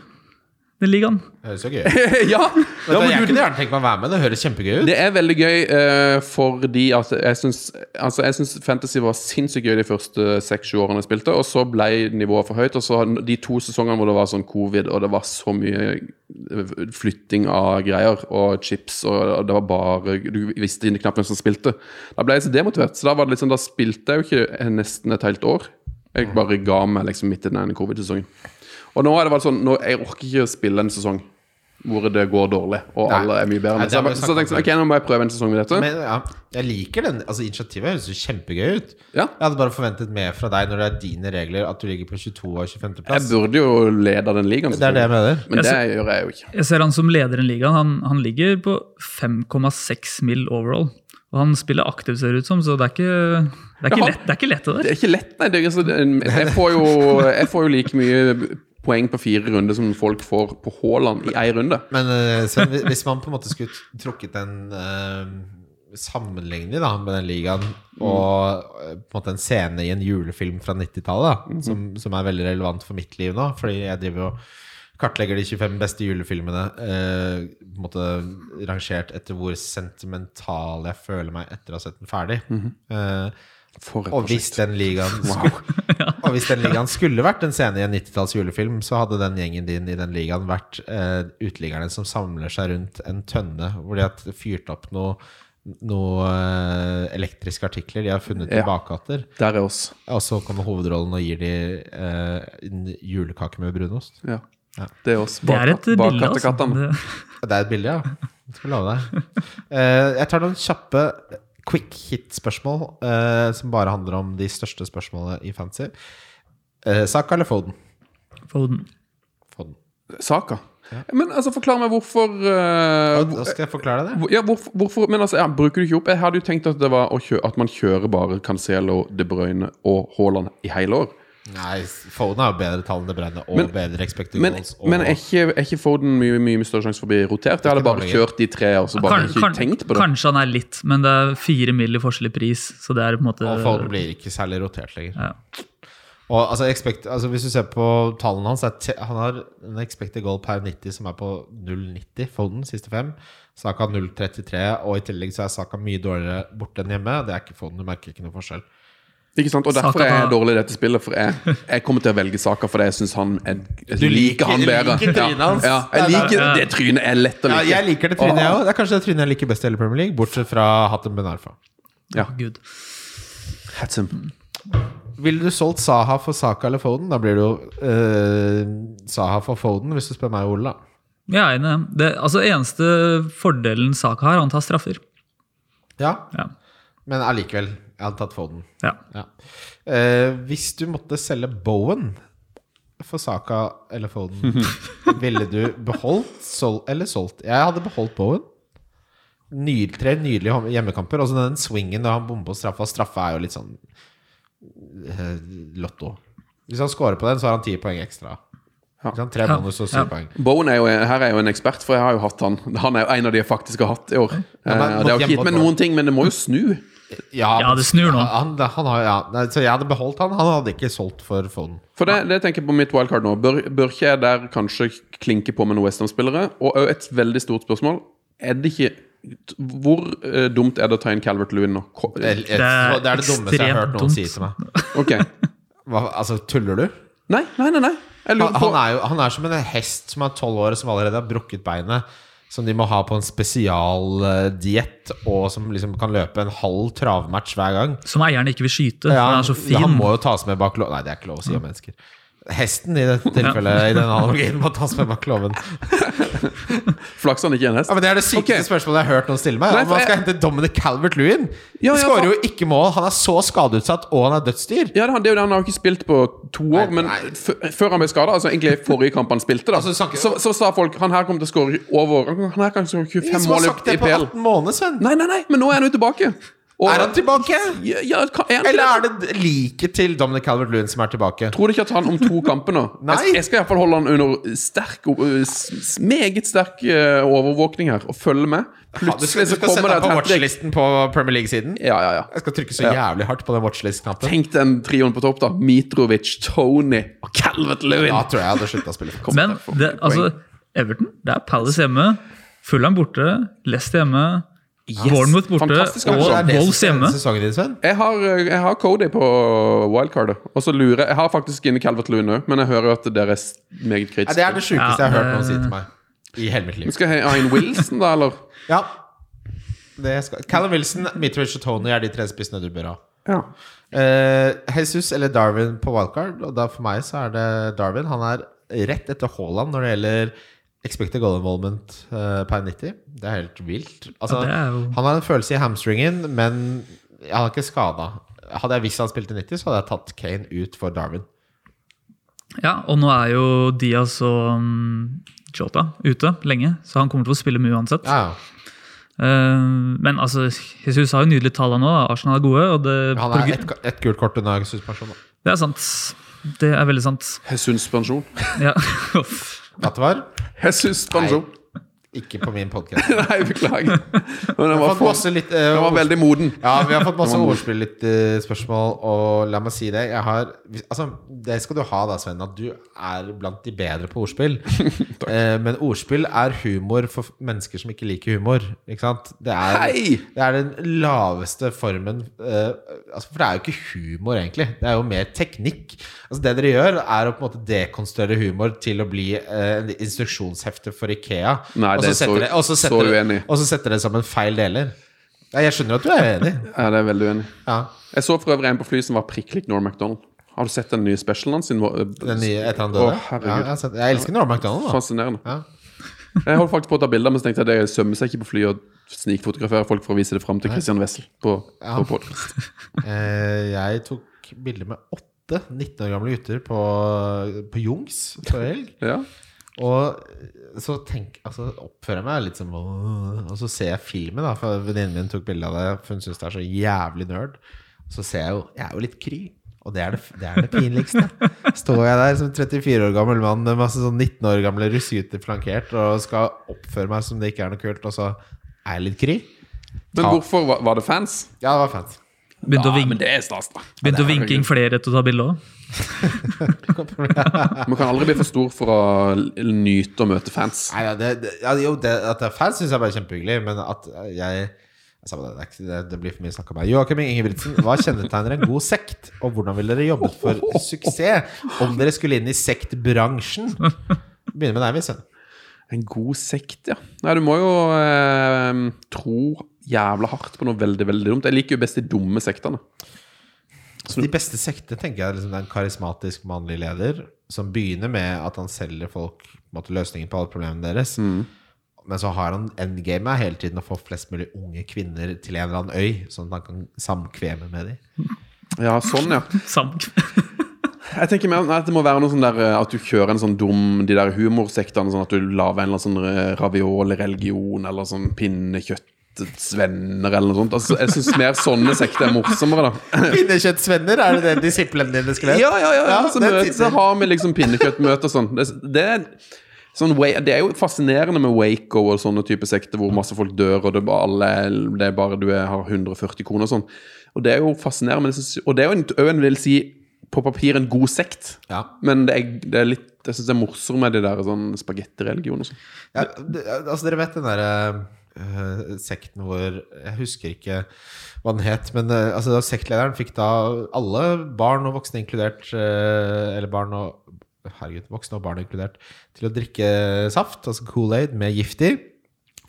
[SPEAKER 4] den ligaen.
[SPEAKER 3] Det høres jo gøy ut.
[SPEAKER 5] ja!
[SPEAKER 3] Vet du, Jeg kunne gjerne tenkt meg å være med, det høres kjempegøy ut.
[SPEAKER 5] Det er veldig gøy eh, fordi at jeg syns altså jeg synes Fantasy var sinnssykt gøy de første seks-sju årene jeg spilte, og så ble nivået for høyt. Og så har- de to sesongene hvor det var sånn covid og det var så mye eh, flytting av greier og chips og det var bare Du visste knapt hvem som spilte. Da ble jeg så demotivert. Så da var det liksom, da spilte jeg jo ikke eh, nesten et helt år. Jeg bare ga meg liksom midt i den ene covid-sesongen. Og nå er det bare sånn nå, Jeg orker ikke å spille en sesong hvor det går dårlig, og
[SPEAKER 3] Nei.
[SPEAKER 5] alle er mye bedre.
[SPEAKER 3] Nei,
[SPEAKER 5] enn meg. så,
[SPEAKER 3] det har
[SPEAKER 5] jeg,
[SPEAKER 3] vi
[SPEAKER 5] bare- så
[SPEAKER 3] snakket
[SPEAKER 5] tenkte jeg sånn, ok, nå må jeg prøve en sesong med dette.
[SPEAKER 3] Men ja, jeg liker den. Altså Initiativet høres jo kjempegøy ut.
[SPEAKER 5] Ja.
[SPEAKER 3] Jeg hadde bare forventet mer fra deg når det er dine regler, at du ligger på 22. og 25.
[SPEAKER 5] jeg
[SPEAKER 3] plass.
[SPEAKER 5] burde jo lede den ligaen,
[SPEAKER 3] Det er det jeg mener.
[SPEAKER 5] men det
[SPEAKER 4] Jeg
[SPEAKER 5] gjør jeg jo ikke.
[SPEAKER 4] Jeg ser han som leder i ligaen. Han, han ligger på 5,6 mil overall. Og han spiller aktivt, ser det ut som, så det er ikke, det er ikke,
[SPEAKER 5] Ja.
[SPEAKER 4] lett, det er ikke lett, det
[SPEAKER 5] Det
[SPEAKER 4] der.
[SPEAKER 5] er ikke lett, nei. Det, er- altså, det- jeg, får jo, jeg får jo like mye poeng på fire runder som folk får på Haaland i én runde.
[SPEAKER 3] Men eh, Sven, hvi- hvis man på en måte skulle t- trukket en eh, sammenligning da, med den ligaen, og eh, på en måte en scene i en julefilm fra 90-tallet, da, som, som er veldig relevant for mitt liv nå, fordi jeg driver og kartlegger de 25 beste julefilmene, eh, på en måte rangert etter hvor sentimental jeg føler meg etter å ha sett den ferdig. Eh,
[SPEAKER 5] For et
[SPEAKER 3] og hvis
[SPEAKER 5] prosjekt.
[SPEAKER 3] den ligaen Og hvis den ligaen skulle vært en scene i en 90-talls julefilm, så hadde den gjengen din i den ligaen vært eh, uteliggerne som samler seg rundt en tønne hvor de har fyrt opp noe noe eh, elektriske artikler de har funnet i
[SPEAKER 5] Ja.
[SPEAKER 3] bakgater.
[SPEAKER 5] Der er oss.
[SPEAKER 3] Og så kommer hovedrollen og gir de eh, en julekake med brunost.
[SPEAKER 5] Ja.
[SPEAKER 3] Ja.
[SPEAKER 5] Det er oss.
[SPEAKER 4] Det er et
[SPEAKER 5] Bak- bak
[SPEAKER 4] bilde, altså.
[SPEAKER 5] kattekattene.
[SPEAKER 4] Det,
[SPEAKER 3] Det er et bilde, ja. Jeg skal love deg. Eh, jeg tar noen kjappe quick hit-spørsmål eh, som bare handler om de største spørsmålene i fantasy. Eh, Saka eller Foden?
[SPEAKER 4] Foden.
[SPEAKER 3] Foden.
[SPEAKER 5] Saka. Men altså, forklar meg hvorfor eh,
[SPEAKER 3] Da skal jeg forklare deg det.
[SPEAKER 5] hvor- ja, hvorfor, hvorfor Men altså, ja, bruker du ikke opp Jeg hadde jo tenkt at, det var å kjø at man kjører bare Cancelo, De Bruyne og Haaland i hele år.
[SPEAKER 3] Nei, Foden har jo bedre tall enn De Bruyne og
[SPEAKER 5] Men-
[SPEAKER 3] bedre expected
[SPEAKER 5] Men,
[SPEAKER 3] goals. Og,
[SPEAKER 5] men er, ikke, er ikke Foden mye, mye større sjanse for å bli rotert? Jeg hadde bare
[SPEAKER 3] dårlig.
[SPEAKER 5] kjørt de tre og så bare
[SPEAKER 4] Kan,
[SPEAKER 5] ikke
[SPEAKER 4] kan,
[SPEAKER 5] tenkt på det.
[SPEAKER 4] kanskje han er litt, men det er fire mil i forskjell i pris, så det er på en måte
[SPEAKER 3] og Foden blir ikke særlig rotert lenger.
[SPEAKER 4] Ja.
[SPEAKER 3] Og altså, expect, altså Hvis du ser på tallene hans, er te, han har en expected goal per 90 som er på 0,90. Foden siste fem. Saka 0,33, og i tillegg så er Saka mye dårligere borte enn hjemme. Det er ikke Foden, du merker ikke noe forskjell.
[SPEAKER 5] Ikke sant? Og derfor
[SPEAKER 4] Saka
[SPEAKER 5] er jeg
[SPEAKER 4] da-
[SPEAKER 5] dårlig i dette spillet. For jeg, jeg kommer til å velge Saka fordi jeg syns han er, jeg liker han bedre.
[SPEAKER 3] liker trynet
[SPEAKER 5] ja.
[SPEAKER 3] hans.
[SPEAKER 5] Ja, jeg liker det trynet er lett å
[SPEAKER 3] Ja,
[SPEAKER 5] like.
[SPEAKER 3] jeg liker det trynet, jeg òg. Det er kanskje det trynet jeg liker best i hele Premier League, bortsett fra Hatem Ben Arfa.
[SPEAKER 4] Gud.
[SPEAKER 5] Hatsum.
[SPEAKER 3] Ville du solgt Saha for Saka eller Foden? Da blir det jo eh, Saha for Foden, hvis du spør meg, Ole. da.
[SPEAKER 4] Jeg er enig. i det. Det, altså, eneste fordelen Saka har, han tar straffer.
[SPEAKER 3] Ja,
[SPEAKER 4] Ja.
[SPEAKER 3] men allikevel. Jeg hadde tatt Foden.
[SPEAKER 4] ja.
[SPEAKER 3] Ja. Eh, hvis du måtte selge Bowen for Saka eller Foden, ville du beholdt sol eller solgt? Jeg hadde beholdt Bowen. Ny, tre nydelige hom- hjemmekamper. Og så den swingen da han bomber på straffa. Straffa er jo litt sånn eh, lotto. Hvis han scorer på den, så har han ti poeng ekstra.
[SPEAKER 5] Ja.
[SPEAKER 3] Ikke sant? Tre
[SPEAKER 4] Ja.
[SPEAKER 3] bonus og
[SPEAKER 4] Ja.
[SPEAKER 3] syv poeng.
[SPEAKER 5] Bowen er jo, her er jo en ekspert, for jeg har jo hatt han. Han er jo en av de jeg faktisk har hatt i år.
[SPEAKER 3] men
[SPEAKER 5] Eh, det har
[SPEAKER 3] mot
[SPEAKER 5] ikke gitt meg
[SPEAKER 3] hjemme-
[SPEAKER 5] noen ting, men det må jo snu.
[SPEAKER 4] Ja, det snur nå.
[SPEAKER 3] Han, han har, ja. Nei, så jeg hadde beholdt han. Han hadde ikke solgt for Foden.
[SPEAKER 5] For det, det tenker jeg på mitt wildcard nå. Bør, bør ikke jeg der kanskje klinke på med noen Westham-spillere? Og også et veldig stort spørsmål. Er det ikke Hvor eh, dumt er det å ta inn Calvert Lewin nå? Ko-
[SPEAKER 3] Det er, det
[SPEAKER 4] er
[SPEAKER 3] er det dummeste jeg har hørt
[SPEAKER 4] ekstremt
[SPEAKER 3] noen si
[SPEAKER 4] dumt.
[SPEAKER 3] til meg.
[SPEAKER 5] Ok.
[SPEAKER 3] Hva, altså, tuller du?
[SPEAKER 5] Nei, nei, nei. nei. Jeg
[SPEAKER 3] Han,
[SPEAKER 5] lurer på
[SPEAKER 3] han, er jo, han er som en hest som er tolv år, som allerede har brukket beinet. Som de må ha på en spesialdiett, og som liksom kan løpe en halv travmatch hver gang.
[SPEAKER 4] Som eieren ikke vil skyte. for
[SPEAKER 3] Ja,
[SPEAKER 4] han er så fin.
[SPEAKER 3] Han må jo tas med bak låven Nei, det er ikke lov å si om mennesker. Hesten i dette tilfellet i denne analogien må tas med bak låven.
[SPEAKER 5] Flaks han ikke er en hest.
[SPEAKER 3] Ja, men det er det sykeste
[SPEAKER 5] Ok.
[SPEAKER 3] spørsmålet jeg har hørt noen stille meg.
[SPEAKER 5] Nei,
[SPEAKER 3] Om
[SPEAKER 5] for
[SPEAKER 3] man skal
[SPEAKER 5] jeg-
[SPEAKER 3] hente Dominic Calvert-Lewin.
[SPEAKER 5] Ja, ja,
[SPEAKER 3] Skårer
[SPEAKER 5] for-
[SPEAKER 3] jo ikke mål. Han er så skadeutsatt, og han er dødsdyr.
[SPEAKER 5] Ja, det, er han- det er jo det. Han har jo ikke spilt på to år, men
[SPEAKER 3] nei.
[SPEAKER 5] f før han ble skada, altså egentlig forrige kamp han spilte, da,
[SPEAKER 3] Altså, du snakker-
[SPEAKER 5] så, så sa folk han her kommer til å skåre over Han her kan skåre 25
[SPEAKER 3] Som har
[SPEAKER 5] mål i
[SPEAKER 3] sagt det
[SPEAKER 5] i
[SPEAKER 3] på
[SPEAKER 5] PL.
[SPEAKER 3] 18 måneder, Sven.
[SPEAKER 5] Nei, nei, nei, men nå er han jo tilbake. Og-
[SPEAKER 3] Er han tilbake?
[SPEAKER 5] Ja, ja, ka- er han
[SPEAKER 3] Eller
[SPEAKER 5] ikke
[SPEAKER 3] er det liket til Dominic Calvert-Lewin som er tilbake?
[SPEAKER 5] Tror du ikke at han om to kamper nå
[SPEAKER 3] Nei.
[SPEAKER 5] Jeg, jeg skal iallfall holde han under sterk, øh, s- s- meget sterk øh, overvåkning her, og følge med.
[SPEAKER 3] Ja, du skal,
[SPEAKER 5] Plutselig
[SPEAKER 3] du
[SPEAKER 5] så
[SPEAKER 3] skal
[SPEAKER 5] kommer
[SPEAKER 3] sette
[SPEAKER 5] det
[SPEAKER 3] deg på
[SPEAKER 5] et hat-trick.
[SPEAKER 3] watchlisten på Premier League-siden.
[SPEAKER 5] Ja, ja, ja.
[SPEAKER 3] Jeg skal trykke så jævlig hardt på den watchlist-knappen.
[SPEAKER 5] Tenk den trioen på topp, da. Mitrovic, Tony og Calvert Lewin.
[SPEAKER 3] Da tror jeg jeg hadde slutta å spille.
[SPEAKER 4] Men det, altså, Everton, det er Palace hjemme, Fulham borte, Leicester hjemme, Bournemouth borte
[SPEAKER 5] Fantastisk kamp.
[SPEAKER 4] og
[SPEAKER 5] Det er
[SPEAKER 4] Wolves hjemme.
[SPEAKER 3] sesongen din, Sven?
[SPEAKER 5] Jeg har, øh, jeg har Cody på wildcardet. Og så lurer Jeg har faktisk inne Calvert Lewin òg, men jeg hører jo at dere er s- meget
[SPEAKER 3] Ja,
[SPEAKER 5] kritiske.
[SPEAKER 3] det er det sjukeste
[SPEAKER 4] Ja,
[SPEAKER 3] jeg har hørt noen
[SPEAKER 4] det-
[SPEAKER 3] si til meg. I hele mitt liv.
[SPEAKER 5] Skal jeg ha inn Wilson, da, eller?
[SPEAKER 3] Ja. Det skal. Callum Wilson, Mitrovic og Tony er de tre spissene du bør ha.
[SPEAKER 5] Ja.
[SPEAKER 3] Eh, Jesus eller Darwin på wildcard. Og da for meg så er det Darwin. Han er rett etter Haaland når det gjelder expected goal involvement eh, per 90. Det er helt vilt. Altså,
[SPEAKER 4] Ja, det er jo-
[SPEAKER 3] Han har en følelse i hamstringen, men han er ikke skada. Hadde jeg visst han spilte 90, så hadde jeg tatt Kane ut for Darwin.
[SPEAKER 4] Ja, og nå er jo Diaz og um, Jota ute lenge, så han kommer til å spille mye uansett.
[SPEAKER 3] Ja, ja.
[SPEAKER 4] Eh, men altså, Jesus har jo nydelige tall her nå. da. Arsenal er gode. Og det,
[SPEAKER 3] Han er ett et gult kort unna suspensjon. da.
[SPEAKER 4] det er sant. Det er veldig sant.
[SPEAKER 5] Suspensjon.
[SPEAKER 4] Ja.
[SPEAKER 3] At det var
[SPEAKER 5] Suspensjon.
[SPEAKER 3] ikke på min podkast.
[SPEAKER 5] Nei, beklager. Men den var,
[SPEAKER 3] Fått
[SPEAKER 5] for,
[SPEAKER 3] masse litt, eh,
[SPEAKER 5] den var veldig moden.
[SPEAKER 3] Ja, vi har fått masse ordspill litt eh, spørsmål, og la meg si det. Jeg har, altså, det skal du ha da, Sven, at du er blant de bedre på ordspill. Eh, men ordspill er humor for mennesker som ikke liker humor. Ikke sant? Det er,
[SPEAKER 5] Hei!
[SPEAKER 3] det er den laveste formen eh, altså, For det er jo ikke humor, egentlig. Det er jo mer teknikk. Altså, det dere gjør, er å på en måte dekonstruere humor til å bli eh, en instruksjonshefte for Ikea.
[SPEAKER 5] Nei, det er så-
[SPEAKER 3] og så setter dere- og så
[SPEAKER 5] så
[SPEAKER 3] setter dere-
[SPEAKER 5] uenig.
[SPEAKER 3] og så setter dere sammen feil deler. Ja, jeg skjønner at du er enig.
[SPEAKER 5] Ja, det er veldig uenig.
[SPEAKER 3] Ja
[SPEAKER 5] Jeg så for øvrig en på flyet som var prikk lik Norm MacDonald. Har du sett den nye specialen hans? sin? eh,
[SPEAKER 3] Den nye etter han døde?
[SPEAKER 5] Å, herregud.
[SPEAKER 3] ja, jeg, har sett, jeg elsker Norm MacDonald, da.
[SPEAKER 5] Fascinerende.
[SPEAKER 3] Ja.
[SPEAKER 5] Jeg holdt faktisk på å ta bilder, men så tenkte jeg det sømmer seg ikke på flyet å snikfotografere folk for å vise det fram til Christian Wessel på,
[SPEAKER 3] Ja.
[SPEAKER 5] på podcast.
[SPEAKER 3] Eh, jeg tok bilder med åtte 19 år gamle gutter på, på Jungs forrige helg.
[SPEAKER 5] Ja.
[SPEAKER 3] Og så tenk, altså, oppfører jeg meg litt som Og så ser jeg filmen, da, for venninnen min tok bilde av det, for hun syns det er så jævlig nerd. Så ser jeg jo Jeg er jo litt kry. Og det er det, det er det pinligste. Står jeg der som 34 år gammel mann med masse sånn 19 år gamle russegutter flankert og skal oppføre meg som det ikke er noe kult, og så er jeg litt kry.
[SPEAKER 5] Men
[SPEAKER 3] Ja.
[SPEAKER 5] hvorfor var, var det fans?
[SPEAKER 3] Ja, det var fint.
[SPEAKER 4] Begynte
[SPEAKER 5] Ja,
[SPEAKER 4] å vinke,
[SPEAKER 5] men det er stas, da.
[SPEAKER 4] begynte å vinke inn flere til å ta bilde òg.
[SPEAKER 5] Man kan aldri bli for stor for å l- nyte å møte fans.
[SPEAKER 3] Nei, ja, det, det, ja, jo, det, at det er fans syns jeg bare er kjempehyggelig, men at jeg Samme det, det, er ikke- det, det blir for mye snakk om meg. Joakim Ingebrigtsen, hva kjennetegner en god sekt? Og hvordan ville dere jobbet for suksess om dere skulle inn i sektbransjen? Begynner med deg, Vissen.
[SPEAKER 5] En god sekt, ja. Nei, du må jo eh, tro jævla hardt på noe veldig, veldig dumt. Jeg liker jo best de dumme sektene.
[SPEAKER 3] Altså, De beste sektene tenker jeg er liksom, det er en karismatisk mannlig leder som begynner med at han selger folk på en måte, løsningen på alle problemene deres. Men så har han endgamet hele tiden å få flest mulig unge kvinner til en eller annen øy, sånn at han kan samkveme med dem.
[SPEAKER 5] Ja, sånn, ja. Jeg tenker mer nei, at det må være noe sånn der eh, At du kjører en sånn dum De der humorsektene Sånn at du laver en eller annen sånn eh, ravioli-religion Eller sånn pinnekjøttets venner Eller noe sånt altså, Jeg synes mer sånne sekter er morsommere da
[SPEAKER 3] Pinnekjøttsvenner, er det det disiplene dine skulle
[SPEAKER 5] Ja, ja, ja, ja,
[SPEAKER 3] Ja,
[SPEAKER 5] Så
[SPEAKER 3] det er
[SPEAKER 5] møtes
[SPEAKER 3] tittel.
[SPEAKER 5] og har vi liksom pinnekjøttmøter og sånn det, det, er, sånn wa- det er jo fascinerende med Waco og sånne type sekter Hvor masse folk dør Og det, er bare alle, det er bare du er, har 140 kroner og sånn Og det er jo fascinerende men jeg synes, Og det er jo en, også en vil si på papir en god sekt
[SPEAKER 3] Ja.
[SPEAKER 5] men det er, det er litt
[SPEAKER 3] Eh,
[SPEAKER 5] Jeg syns det er morsommere med de der sånn spagettireligioner og sånn.
[SPEAKER 3] Ja, det- altså, dere vet den derre eh, sekten hvor Jeg husker ikke hva den het, men eh, altså, da sektlederen fikk da alle barn og voksne inkludert eh, Eller barn og Herregud, voksne og barn inkludert til å drikke saft, altså Kool-Aid, med gift i.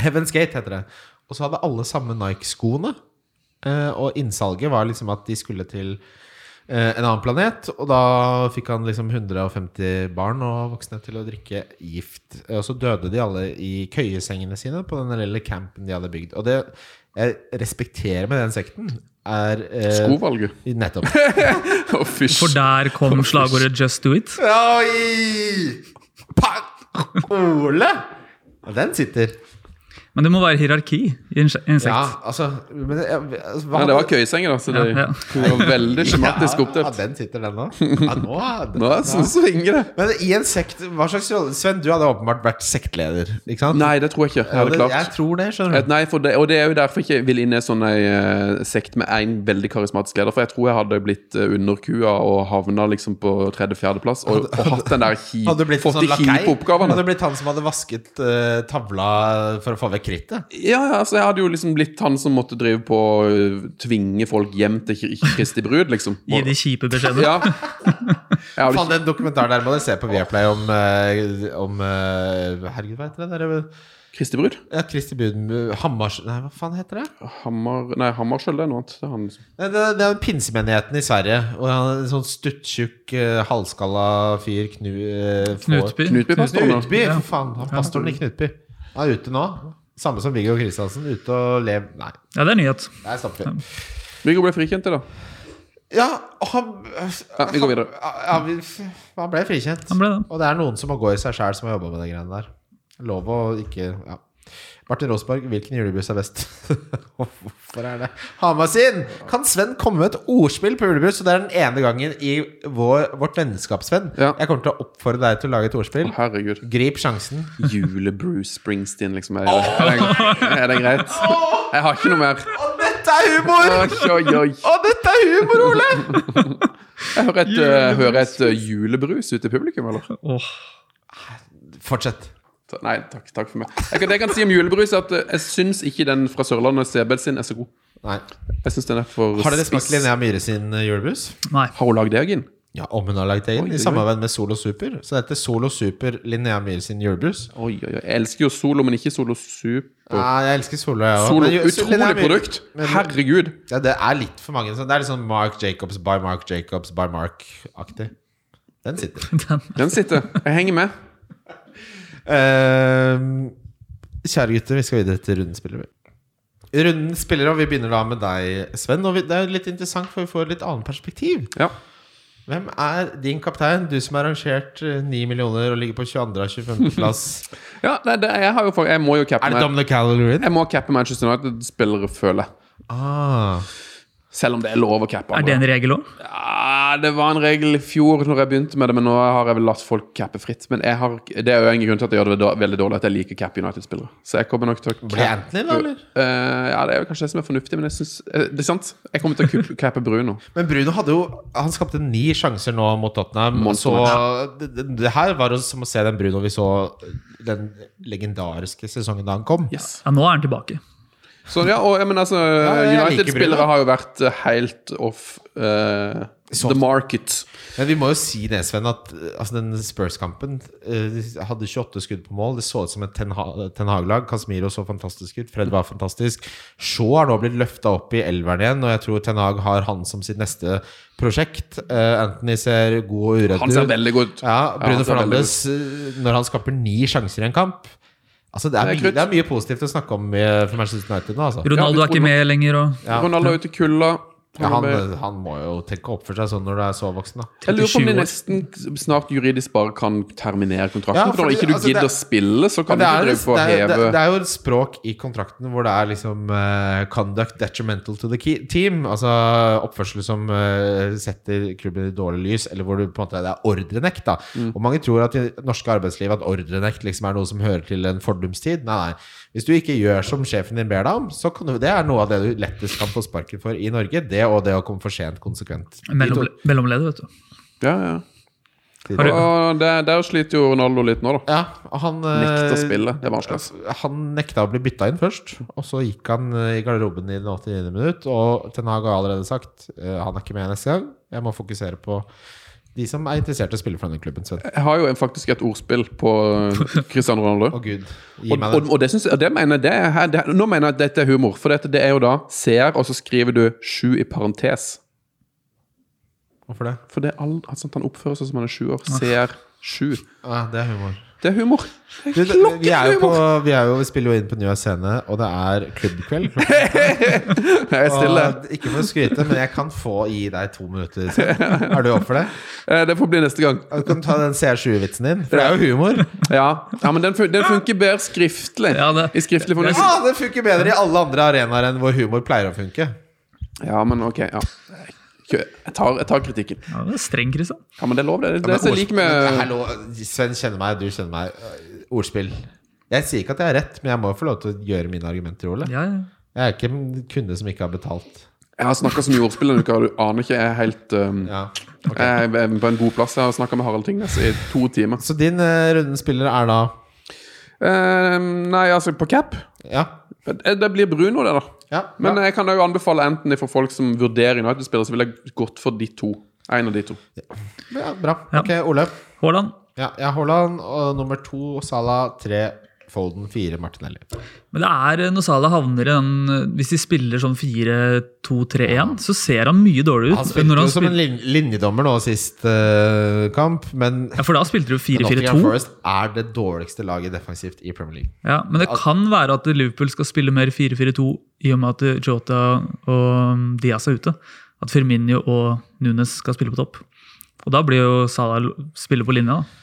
[SPEAKER 3] Heaven's Gate heter det. Og så hadde alle samme Nike-skoene. eh, og innsalget var liksom at de skulle til eh, en annen planet, og da fikk han liksom 150 barn og voksne til å drikke gift. Eh, Og så døde de alle i køyesengene sine på den lille campen de hadde bygd. Og det jeg respekterer med den sekten, er eh,
[SPEAKER 5] Skovalget.
[SPEAKER 3] Nettopp.
[SPEAKER 5] Å, fysj.
[SPEAKER 4] For der kom slagordet 'just do it'.
[SPEAKER 3] Oi! Pa- Ole! Ja, Den sitter.
[SPEAKER 4] Men det må være hierarki i en sj- i en sekt.
[SPEAKER 3] Ja, altså, men, ja, altså hva-
[SPEAKER 5] Ja, det var køyesenger, da. Så det
[SPEAKER 4] Ja, ja.
[SPEAKER 5] det var veldig skjematisk
[SPEAKER 3] Ja,
[SPEAKER 5] oppdelt.
[SPEAKER 3] den sitter, den òg. Ja, nå er den-
[SPEAKER 5] Nå er det sånn svinger det.
[SPEAKER 3] Men i en sekt, hva slags rolle Sven, du hadde åpenbart vært sektleder, ikke sant?
[SPEAKER 5] Nei, det tror jeg ikke. Jeg hadde
[SPEAKER 3] jeg, jeg
[SPEAKER 5] klart.
[SPEAKER 3] tror det, skjønner
[SPEAKER 5] Et
[SPEAKER 3] du.
[SPEAKER 5] Nei, for det, og det er jo derfor jeg ikke vil inn i en sånn ei, eh, sekt med én veldig karismatisk leder. For jeg tror jeg hadde blitt eh, underkua og havna liksom på tredje-fjerdeplass. Og, og hatt den der ki,
[SPEAKER 3] Hadde du blitt en
[SPEAKER 5] fått de
[SPEAKER 3] sånn lakei?
[SPEAKER 5] kjipe oppgavene.
[SPEAKER 3] Hadde du blitt han som hadde vasket eh, tavla for å få vekk krittet?
[SPEAKER 5] Ja, ja, altså jeg hadde jo liksom blitt han som måtte drive på å øh, tvinge folk hjem til Kri- Kristi brud, liksom.
[SPEAKER 4] Gi de kjipe beskjedene.
[SPEAKER 5] Ja. Jeg hadde
[SPEAKER 3] Faen,
[SPEAKER 5] ikke,
[SPEAKER 3] den dokumentaren der må dere se på Viaplay om, eh, om eh, Herregud, hva heter det? Der,
[SPEAKER 5] Kristi brud?
[SPEAKER 3] ja, Kristi Buden Hammars... Nei, hva faen heter det?
[SPEAKER 5] Hammer, nei, Hammarskjöld er noe annet. Det er han, liksom.
[SPEAKER 3] Nei, Det, det er jo pinsemenigheten i Sverige. Og han er en sånn stuttjukk, eh, halvskalla fyr knu, eh, får-
[SPEAKER 4] Knutby.
[SPEAKER 5] Knutby pastor nå.
[SPEAKER 3] Knutby,
[SPEAKER 4] Ja.
[SPEAKER 3] for faen. Han pastoren i Knutby. Han er ute nå. Samme som Viggo Kristiansen. Ute og lev Nei,
[SPEAKER 4] Ja, det er nyhet.
[SPEAKER 3] der stopper vi.
[SPEAKER 5] Viggo ble frikjent, det, da.
[SPEAKER 3] Ja, han
[SPEAKER 5] Ja, vi går videre.
[SPEAKER 3] Ja, vi, han ble frikjent.
[SPEAKER 4] Han ble det.
[SPEAKER 3] Og det er noen som må gå i seg sjæl, som har jobba med de greiene der. Lov å ikke Ja. Martin Rosberg, hvilken julebrus er best? Hvorfor er det Hamar sin! Kan Sven komme med et ordspill på julebrus? Og det er den ene gangen i vår, vårt vennskap, Sven.
[SPEAKER 5] Ja.
[SPEAKER 3] Jeg kommer til å oppfordre deg til å lage et ordspill.
[SPEAKER 5] Å, herregud.
[SPEAKER 3] Grip sjansen.
[SPEAKER 5] Jule-Bruce Springsteen, liksom. Er det, er, det, er det greit? Jeg har ikke noe mer.
[SPEAKER 3] Å, dette er humor!
[SPEAKER 5] Oi, oi, oi.
[SPEAKER 3] Å, dette er humor, Ole!
[SPEAKER 5] Jeg hører et, øh, hører et øh, julebrus ute i publikum, eller?
[SPEAKER 4] Åh.
[SPEAKER 3] Fortsett.
[SPEAKER 5] Ta- Nei, takk, takk for meg. Jeg kan, det jeg kan si om julebrus, er at øh, jeg syns ikke den fra Sørlandet CB sin er så god.
[SPEAKER 3] Nei.
[SPEAKER 5] Jeg synes den er for
[SPEAKER 3] Har dere
[SPEAKER 5] spiss.
[SPEAKER 3] smakt Linnea Myhre sin julebrus?
[SPEAKER 4] Nei.
[SPEAKER 5] Har hun lagd det, Gin?
[SPEAKER 3] Ja, om hun har lagd det inn,
[SPEAKER 5] Oi,
[SPEAKER 3] i
[SPEAKER 5] oi,
[SPEAKER 3] samarbeid med Solo Super. Så det heter Solo Super Linnea Myhre sin julebrus.
[SPEAKER 5] Oi, oi, oi. Jeg elsker jo Solo, men ikke Solo Super.
[SPEAKER 3] Nei, jeg elsker Solo, jeg også.
[SPEAKER 5] Solo,
[SPEAKER 3] Men ju- Linnea
[SPEAKER 5] Utrolig
[SPEAKER 3] Myhre-
[SPEAKER 5] produkt!
[SPEAKER 3] Men-
[SPEAKER 5] Herregud.
[SPEAKER 3] Ja, det er litt for mange. sånn- Det er litt sånn Mark Jacobs by Mark Jacobs by Mark-aktig. Den sitter.
[SPEAKER 4] Den.
[SPEAKER 5] Den sitter. Jeg henger med.
[SPEAKER 3] Ehm, kjære gutter, vi skal videre til runden spiller. vi. Runden spiller, og vi begynner da med deg, Sven. Og vi, det er litt interessant, for vi får litt annet perspektiv.
[SPEAKER 5] Ja.
[SPEAKER 3] Hvem er din kaptein? Du som er rangert eh, 9 millioner og ligger på 22. og 25. plass.
[SPEAKER 5] ja nei, det, jeg, har jo, for- jeg må jo cappe
[SPEAKER 3] er det
[SPEAKER 5] meg.
[SPEAKER 3] Dominic Callery?
[SPEAKER 5] Jeg må cappe Manchester United-spillere, føler jeg.
[SPEAKER 3] Ah.
[SPEAKER 5] Selv om det er lov å cappe.
[SPEAKER 4] Er det en regel òg?
[SPEAKER 5] Ja, det var en regel i fjor når jeg begynte med det, men nå har jeg vel latt folk cappe fritt. Men jeg har, det er jo en grunn til at jeg gjør det da- veldig dårlig at jeg liker cappe United-spillere. Så jeg kommer nok til å
[SPEAKER 3] Blir det Anthony, da, eller?
[SPEAKER 5] Eh, ja, det er jo kanskje det som er fornuftig, men jeg synes, eh, det er sant. Jeg kommer til å kup- cappe Bruno.
[SPEAKER 3] Men Bruno hadde jo Han skapte ni sjanser nå mot Tottenham. Så det, det, det her var jo som å se den Bruno vi så den legendariske sesongen da han kom.
[SPEAKER 5] Yes.
[SPEAKER 4] Ja, nå er han tilbake.
[SPEAKER 5] Så ja, og, ja, men altså,
[SPEAKER 3] jeg liker Bruno.
[SPEAKER 5] United-spillere har jo vært eh, helt off eh,
[SPEAKER 3] Så-
[SPEAKER 5] the market.
[SPEAKER 3] Men vi må jo si det, Sven, at eh, altså, den Spurs-kampen eh, de hadde 28 skudd på mål. Det så ut som et Ten Ha- Ten Hag-lag. Casemiro så fantastisk ut. Fred var fantastisk. Shaw har nå blitt løfta opp i elveren igjen, og jeg tror Ten Hag har han som sitt neste prosjekt. Eh, Anthony ser god og uredd ut.
[SPEAKER 5] Han ser veldig god ut.
[SPEAKER 3] Ja,
[SPEAKER 5] Ja,
[SPEAKER 3] Bruno
[SPEAKER 5] han ser veldig
[SPEAKER 3] Fernandes, eh, når han skaper ni sjanser i en kamp Altså, det er,
[SPEAKER 5] Det er
[SPEAKER 3] mye,
[SPEAKER 5] krutt.
[SPEAKER 3] det er mye positivt å snakke om eh, for Manchester United nå, altså.
[SPEAKER 4] Ronaldo
[SPEAKER 5] Ja,
[SPEAKER 4] er ikke med lenger. Og
[SPEAKER 3] Ja.
[SPEAKER 5] Ronaldo er ute i kulda. Eh,
[SPEAKER 3] Ja, han, eh, han må jo tenke å oppføre seg sånn når du er så voksen, da.
[SPEAKER 5] Jeg lurer på om de
[SPEAKER 4] 37 år.
[SPEAKER 5] nesten snart juridisk bare kan terminere kontrakten.
[SPEAKER 3] Ja,
[SPEAKER 5] for når
[SPEAKER 3] fordi,
[SPEAKER 5] ikke du
[SPEAKER 3] altså,
[SPEAKER 5] gidder
[SPEAKER 3] det-
[SPEAKER 5] å spille, så kan du
[SPEAKER 3] Det er,
[SPEAKER 5] ikke drive på å
[SPEAKER 3] det, er, det,
[SPEAKER 5] heve
[SPEAKER 3] det er jo et språk i kontrakten hvor det er liksom eh, 'conduct detrimental to the key- team'. Altså oppførsel som eh, setter klubben i dårlig lys, eller hvor du på en måte det er ordrenekt. da
[SPEAKER 5] Mm.
[SPEAKER 3] Og mange tror at i det norske arbeidslivet at ordrenekt liksom er noe som hører til en fordumstid. Nei, nei. Hvis du ikke gjør som sjefen din ber deg om, så kan du, det er noe av det du lettest kan få sparken for i Norge. Det og det å komme for sent konsekvent. De to-
[SPEAKER 4] mellomle- mellomleder, vet du.
[SPEAKER 5] Ja, ja.
[SPEAKER 3] Fire.
[SPEAKER 4] Har du-
[SPEAKER 5] Og der, der sliter jo Ronaldo litt nå, da.
[SPEAKER 3] Ja, og han eh,
[SPEAKER 5] Nekter å spille. Det er vanskelig,
[SPEAKER 3] Altså, Han nekta å bli bytta inn først, og så gikk han eh, i garderoben i den 89. minutt. Og Ten Hag har allerede sagt eh, han er ikke med neste gang. Jeg må fokusere på de som er interessert i å spille for denne klubben. Sven.
[SPEAKER 5] Jeg har jo en- faktisk et ordspill på eh, Cristiano Ronaldo.
[SPEAKER 3] Å gud,
[SPEAKER 5] Og,
[SPEAKER 3] gi meg
[SPEAKER 5] og,
[SPEAKER 3] den.
[SPEAKER 5] og det synes jeg, og det mener jeg, det er, her- det, er- Nå mener jeg at dette er humor, for dette, det er jo da CR, og så skriver du 7 i parentes.
[SPEAKER 3] Hvorfor det?
[SPEAKER 5] For det er all, altså, han oppfører seg som han er 7 år. CR 7.
[SPEAKER 3] Ja, Ah, det er humor.
[SPEAKER 5] Det er humor. Det
[SPEAKER 3] Du,
[SPEAKER 5] er
[SPEAKER 3] det- vi, er jo på,
[SPEAKER 5] klokkehumor!
[SPEAKER 3] vi, er jo, vi spiller jo inn på Njø scene, og det er klubbkveld. klokka
[SPEAKER 5] Jeg er stille.
[SPEAKER 3] Og ikke for å skryte, men jeg kan få gi deg to minutter. Sven. Er du opp for det?
[SPEAKER 5] Eh, Det får bli neste gang.
[SPEAKER 3] Ja, Du kan ta den CR7-vitsen din, for det er jo humor.
[SPEAKER 5] Ja, ja men den, fun den funker bedre skriftlig.
[SPEAKER 4] Ja, det-
[SPEAKER 5] I skriftlig form.
[SPEAKER 3] Ja, Ah, det funker bedre i alle andre arenaer enn hvor humor pleier å funke.
[SPEAKER 5] Ja, men ok. Ja. Kjø- Jeg tar, jeg tar kritikken.
[SPEAKER 4] Ja, det er streng, Kristian.
[SPEAKER 5] Ja, men det er lov, det. Det er det som er like med
[SPEAKER 3] Hallo, Sven kjenner meg, du kjenner meg. Øh, Ordspill. Jeg sier ikke at jeg har rett, men jeg må jo få lov til å gjøre mine argumenter, Ole.
[SPEAKER 4] Ja, ja.
[SPEAKER 3] Jeg er ikke en kunde som ikke har betalt.
[SPEAKER 5] Jeg har snakka så mye ordspill denne uka, du aner ikke. Jeg er helt um,
[SPEAKER 3] Ja.
[SPEAKER 5] jeg er på en god plass. Jeg har snakka med Harald Tingnes i to timer.
[SPEAKER 3] Så din uh, rundens spiller er da
[SPEAKER 5] Eh, nei, altså, på cap
[SPEAKER 3] Ja.
[SPEAKER 5] Eh, Det blir Bruno, det, da.
[SPEAKER 3] ja
[SPEAKER 5] Men eh,
[SPEAKER 3] ja.
[SPEAKER 5] jeg kan jo anbefale enten for folk som vurderer United-spillere, så ville jeg gått for de to. En av de to.
[SPEAKER 3] ja bra.
[SPEAKER 4] Ja.
[SPEAKER 3] Ok, Ole.
[SPEAKER 4] Haaland.
[SPEAKER 3] Ja, jeg har Haaland, og nummer to Salah, tre Foden, fire Martinelli.
[SPEAKER 4] Men det er eh, når Salah havner i den eh, Hvis de spiller sånn 4-2-3-1, så ser han mye dårlig ut.
[SPEAKER 3] Han spilte
[SPEAKER 4] Når
[SPEAKER 3] jo som en
[SPEAKER 4] spil-
[SPEAKER 3] lin linjedommer nå sist eh, kamp, men
[SPEAKER 4] ja, For da spilte du
[SPEAKER 3] Nottingham
[SPEAKER 4] 4-4-2.
[SPEAKER 3] Forest er det dårligste laget defensivt i Premier League.
[SPEAKER 4] Ja, men det kan være at Liverpool skal spille mer 4-4-2 i og med at Jota og Diaz er ute. At Firmino og Nunes skal spille på topp. Og da blir jo Salah spiller på linja, da.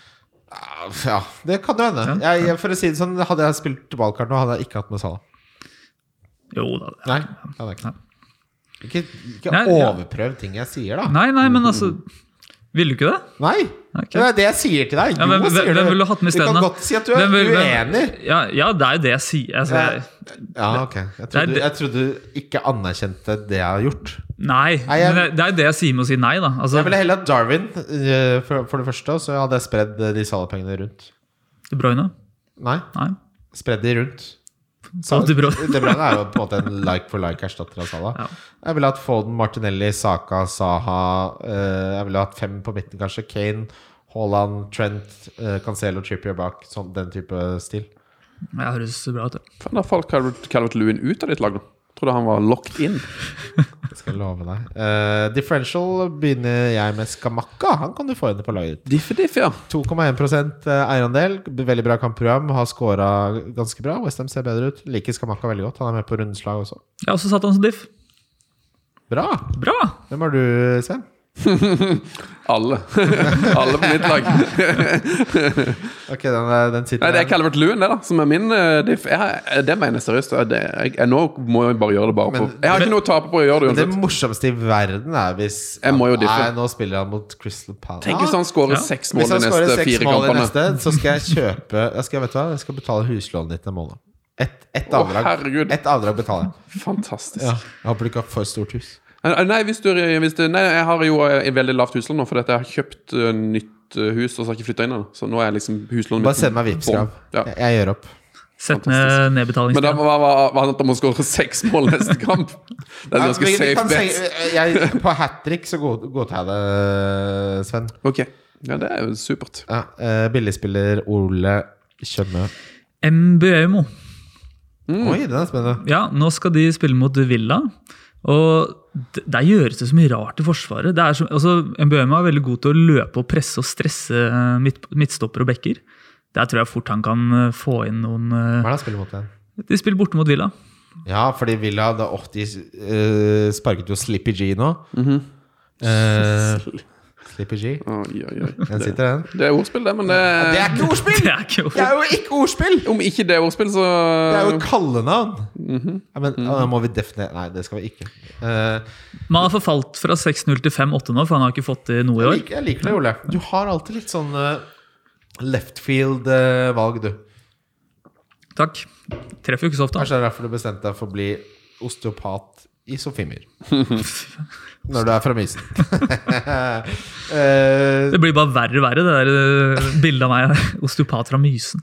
[SPEAKER 3] Ja, det kan jo hende. Jeg, jeg- for å si det sånn, hadde jeg spilt ballkart nå, hadde jeg ikke hatt med Salah.
[SPEAKER 4] Jo da.
[SPEAKER 3] Nei, det hadde jeg ikke. Ikke, ikke
[SPEAKER 4] Nei, ja.
[SPEAKER 3] overprøv ting jeg sier, da.
[SPEAKER 4] Nei, nei, men altså Ville du ikke det?
[SPEAKER 3] Nei!
[SPEAKER 4] Ok.
[SPEAKER 3] Det er det jeg sier til deg.
[SPEAKER 4] Ja,
[SPEAKER 3] Jo,
[SPEAKER 4] hvem, hvem,
[SPEAKER 3] sier
[SPEAKER 4] hvem ville du hatt med
[SPEAKER 3] Du
[SPEAKER 4] isteden?
[SPEAKER 3] kan
[SPEAKER 4] da?
[SPEAKER 3] godt si at du er
[SPEAKER 4] Hvem vil- hvem-
[SPEAKER 3] uenig.
[SPEAKER 4] Ja, ja, det er jo det jeg sier. Altså,
[SPEAKER 3] Ja.
[SPEAKER 4] jeg-
[SPEAKER 3] Ja, ok. Jeg
[SPEAKER 4] Nei,
[SPEAKER 3] trodde,
[SPEAKER 4] det-
[SPEAKER 3] jeg trodde du ikke anerkjente det jeg har gjort.
[SPEAKER 4] Nei,
[SPEAKER 3] Nei, jeg-
[SPEAKER 4] men det, det er jo det jeg sier med å si nei, da. Altså,
[SPEAKER 3] Jeg ville heller hatt Darwin, eh, for, for det første, og så hadde jeg spredd eh, de salapengene rundt.
[SPEAKER 4] De Bruyne?
[SPEAKER 3] Nei,
[SPEAKER 4] Nei.
[SPEAKER 3] spredd de rundt.
[SPEAKER 4] Så De Bruyne.
[SPEAKER 3] De Bruyne er jo på en måte en like for like-erstatter av Salah.
[SPEAKER 4] Ja.
[SPEAKER 3] Jeg ville hatt Foden, Martinelli, Saka, Saha eh, Jeg ville hatt fem på midten, kanskje. Kane, Haaland, Trent, eh, Cancelo, Trippier bak. Sånn, den type stil.
[SPEAKER 4] Ja, det høres bra ut. det.
[SPEAKER 5] Faen, Da falt Calvert, Calvert Lewin ut av ditt lag nå. Trodde han var locked in.
[SPEAKER 3] Det skal jeg love deg. Eh, differential begynner jeg med Skamakka. Han kan du få inn på laget.
[SPEAKER 5] Diffe, diffe, ja.
[SPEAKER 3] 2,1 eh, eierandel. Veldig bra kampprogram. Har scora ganske bra. Westham ser bedre ut. Liker Skamakka veldig godt. Han er med på rundeslag også.
[SPEAKER 4] Jeg har også satt han som diff.
[SPEAKER 3] Bra!
[SPEAKER 4] Bra!
[SPEAKER 3] Hvem har du, Sven?
[SPEAKER 5] Alle. Alle på mitt lag.
[SPEAKER 3] Ok, den, er- den sitter
[SPEAKER 5] Nei, det er Calvert Lewin, det, da, som er min eh, diff. Jeg, har- det mener jeg seriøst. Det, jeg, jeg, nå må jeg bare gjøre det bare
[SPEAKER 3] Men-
[SPEAKER 5] for Jeg har ikke noe å tape på å gjøre det
[SPEAKER 3] Men det
[SPEAKER 5] uansett.
[SPEAKER 3] morsomste i verden er hvis
[SPEAKER 5] Jeg må jo diffe.
[SPEAKER 3] Nei, nå spiller han mot Crystal Palace.
[SPEAKER 5] Tenk hvis han skårer
[SPEAKER 4] Ja.
[SPEAKER 5] seks
[SPEAKER 3] Hvis
[SPEAKER 5] mål de
[SPEAKER 3] han skårer
[SPEAKER 5] neste
[SPEAKER 3] seks
[SPEAKER 5] fire
[SPEAKER 3] mål i
[SPEAKER 5] kampene.
[SPEAKER 3] neste, så skal jeg kjøpe Jeg skal, vet du hva, jeg skal betale huslånet ditt en måned. Ett et
[SPEAKER 5] Å,
[SPEAKER 3] avdrag.
[SPEAKER 5] herregud.
[SPEAKER 3] Ett avdrag betaler jeg.
[SPEAKER 5] Fantastisk.
[SPEAKER 3] Ja. Jeg håper du ikke har for stort hus.
[SPEAKER 5] Eh, Nei, hvis du, hvis du, nei, jeg har jo eh, veldig lavt huslån nå, fordi at jeg har kjøpt eh, nytt eh, hus og så har jeg ikke flytta inn ennå. Så nå er liksom huslånet
[SPEAKER 3] Bare send meg Vipps-krav.
[SPEAKER 5] Ja.
[SPEAKER 3] Jeg, jeg gjør opp.
[SPEAKER 4] Sett
[SPEAKER 5] Fantastisk.
[SPEAKER 4] ned
[SPEAKER 5] Men da
[SPEAKER 4] nedbetalingstida.
[SPEAKER 5] var var- var det at han må skåre seks mål neste kamp. Det er en
[SPEAKER 3] Ja,
[SPEAKER 5] ganske
[SPEAKER 3] vi- vi
[SPEAKER 5] safe
[SPEAKER 3] kan
[SPEAKER 5] bet.
[SPEAKER 3] si- jeg, på hat trick så god- godtar jeg det, Sven.
[SPEAKER 5] Ok, ja, det er jo supert.
[SPEAKER 3] Ja, eh, billigspiller Ole Kjønne.
[SPEAKER 4] Mbeumo.
[SPEAKER 5] Mm.
[SPEAKER 3] Oi, den er spennende.
[SPEAKER 4] Ja, nå skal de spille mot Villa. Og d- der gjøres det så mye rart i Forsvaret. Det er så, altså, Mbeumo er veldig god til å løpe og presse og stresse eh, midt, midtstopper og backer. Der tror jeg fort han kan eh, få inn noen
[SPEAKER 3] Hva er
[SPEAKER 4] eh,
[SPEAKER 3] det han spiller mot igjen?
[SPEAKER 4] De spiller borte mot Villa.
[SPEAKER 3] Ja, fordi Villa da, åh, De eh, sparket jo Slippy G nå. Eh, Slippy G.
[SPEAKER 5] Oi, oi, oi.
[SPEAKER 3] Den sitter, den.
[SPEAKER 5] Det er ordspill, det, men det
[SPEAKER 3] Det er ikke ordspill!
[SPEAKER 4] Det er ikke
[SPEAKER 3] Det er jo ikke ordspill!
[SPEAKER 5] Om ikke det er ordspill, så
[SPEAKER 3] Det er jo kallenavn. ja, men ja, da må vi definere Nei, det skal vi ikke. Eh,
[SPEAKER 4] Man har forfalt fra 6-0 til 5-8 nå, for han har ikke fått til noe i
[SPEAKER 3] jeg,
[SPEAKER 4] år.
[SPEAKER 3] liker, jeg liker det, Ole. Du har alltid litt sånn eh, left field-valg, du.
[SPEAKER 4] Takk. Treffer jo ikke så ofte.
[SPEAKER 3] Kanskje det er derfor du bestemte deg for å bli osteopat i Sofiemyr. Når du er fra Mysen. Eh,
[SPEAKER 4] Det blir bare verre og verre, det der eh, bildet av meg osteopat fra Mysen.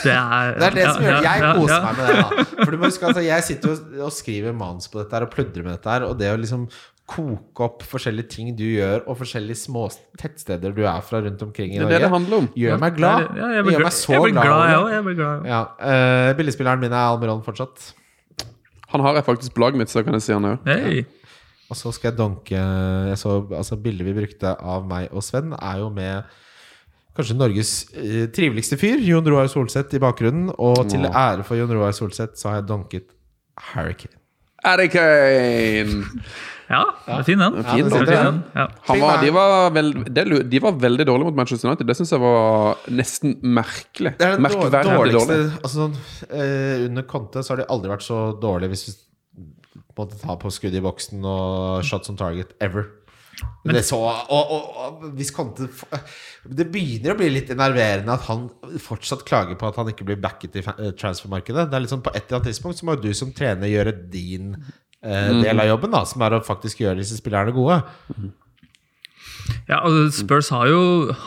[SPEAKER 4] Det er
[SPEAKER 3] det er det som gjør
[SPEAKER 4] ja,
[SPEAKER 3] Jeg
[SPEAKER 4] ja,
[SPEAKER 3] koser
[SPEAKER 4] ja.
[SPEAKER 3] meg med det. da For du må huske at Jeg sitter jo og skriver manus på dette her og pludrer med dette her. Og det å liksom koke opp forskjellige ting du gjør, og forskjellige små tettsteder du er fra rundt omkring i
[SPEAKER 5] Det er det det
[SPEAKER 3] Norge,
[SPEAKER 5] handler om.
[SPEAKER 3] gjør meg
[SPEAKER 4] Ja,
[SPEAKER 3] glad.
[SPEAKER 4] det- ja, jeg
[SPEAKER 3] Det
[SPEAKER 4] blir
[SPEAKER 3] gjør meg
[SPEAKER 4] glad, jeg
[SPEAKER 3] så
[SPEAKER 4] blir glad. jeg
[SPEAKER 3] glad.
[SPEAKER 4] også, Jeg blir glad. jeg også.
[SPEAKER 3] Ja, eh, Billedspilleren min er Almeron fortsatt.
[SPEAKER 5] Han har jeg faktisk på laget mitt, så da kan jeg si han òg.
[SPEAKER 4] Hei.
[SPEAKER 3] Og så skal jeg donke jeg så, altså Bildet vi brukte av meg og Sven, er jo med kanskje Norges eh, triveligste fyr, Jon Roar Solseth, i bakgrunnen. Og til ære for Jon Roar Solseth så har jeg donket Hurricane.
[SPEAKER 5] Harry Kane!
[SPEAKER 4] Ja, det er fin den.
[SPEAKER 5] Fin,
[SPEAKER 3] den
[SPEAKER 5] da.
[SPEAKER 4] Det
[SPEAKER 3] sitter
[SPEAKER 4] er
[SPEAKER 3] der.
[SPEAKER 4] fin, den. Ja.
[SPEAKER 5] Han var, de, var vel, det lu- de var veldig dårlige mot Manchester United. Det syns jeg var nesten merkelig.
[SPEAKER 3] Det er den dår-
[SPEAKER 5] Merkverdig
[SPEAKER 3] dårligste
[SPEAKER 5] dårlig.
[SPEAKER 3] altså sånn, eh, Under Conte så har de aldri vært så dårlige hvis du måtte ta på skudd i boksen og shots on target ever. Men det så og, og, og hvis Conte f- Det begynner å bli litt enerverende at han fortsatt klager på at han ikke blir backet i fa- eh, transfermarkedet. Det er litt sånn På et eller annet tidspunkt så må jo du som trener gjøre din eh,
[SPEAKER 5] Mm.
[SPEAKER 3] del av jobben, da som er å faktisk gjøre disse spillerne gode.
[SPEAKER 4] Ja, altså Spurs har jo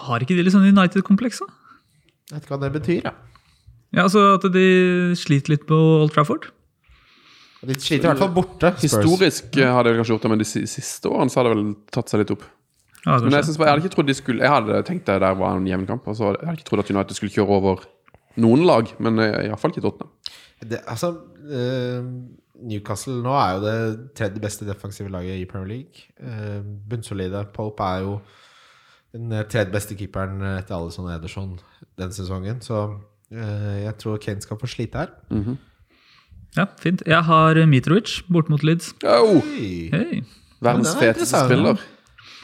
[SPEAKER 4] Har ikke de litt sånn United-kompleks, da?
[SPEAKER 3] Jeg vet ikke hva det betyr. Ja.
[SPEAKER 4] Ja, altså At de sliter litt på Old Trafford?
[SPEAKER 3] De sliter i hvert fall borte. Spurs.
[SPEAKER 5] Historisk eh, har de vel kanskje gjort det, men de si- siste årene så har det vel tatt seg litt opp.
[SPEAKER 4] Ja,
[SPEAKER 5] Men jeg,
[SPEAKER 4] kanskje.
[SPEAKER 5] synes, bare- jeg hadde ikke trodd de skulle Jeg hadde tenkt det der var en jevn kamp. Og så hadde jeg hadde ikke trodd at United skulle kjøre over noen lag, men eh, iallfall ikke Tottenham.
[SPEAKER 3] det, altså, eh, Newcastle nå er jo det tredje beste defensive laget i Premier League. Eh, bunnsolide. Pope er jo den eh, tredje beste keeperen eh, etter Alison og Ederson den sesongen. Så eh, jeg tror Kane skal få slite her.
[SPEAKER 4] Ja, fint. Jeg har Mitrovic borte mot Leeds.
[SPEAKER 5] Au!
[SPEAKER 3] Oi.
[SPEAKER 4] Hei.
[SPEAKER 5] verdens
[SPEAKER 3] Men den er
[SPEAKER 5] feteste
[SPEAKER 3] interessant.
[SPEAKER 5] spiller.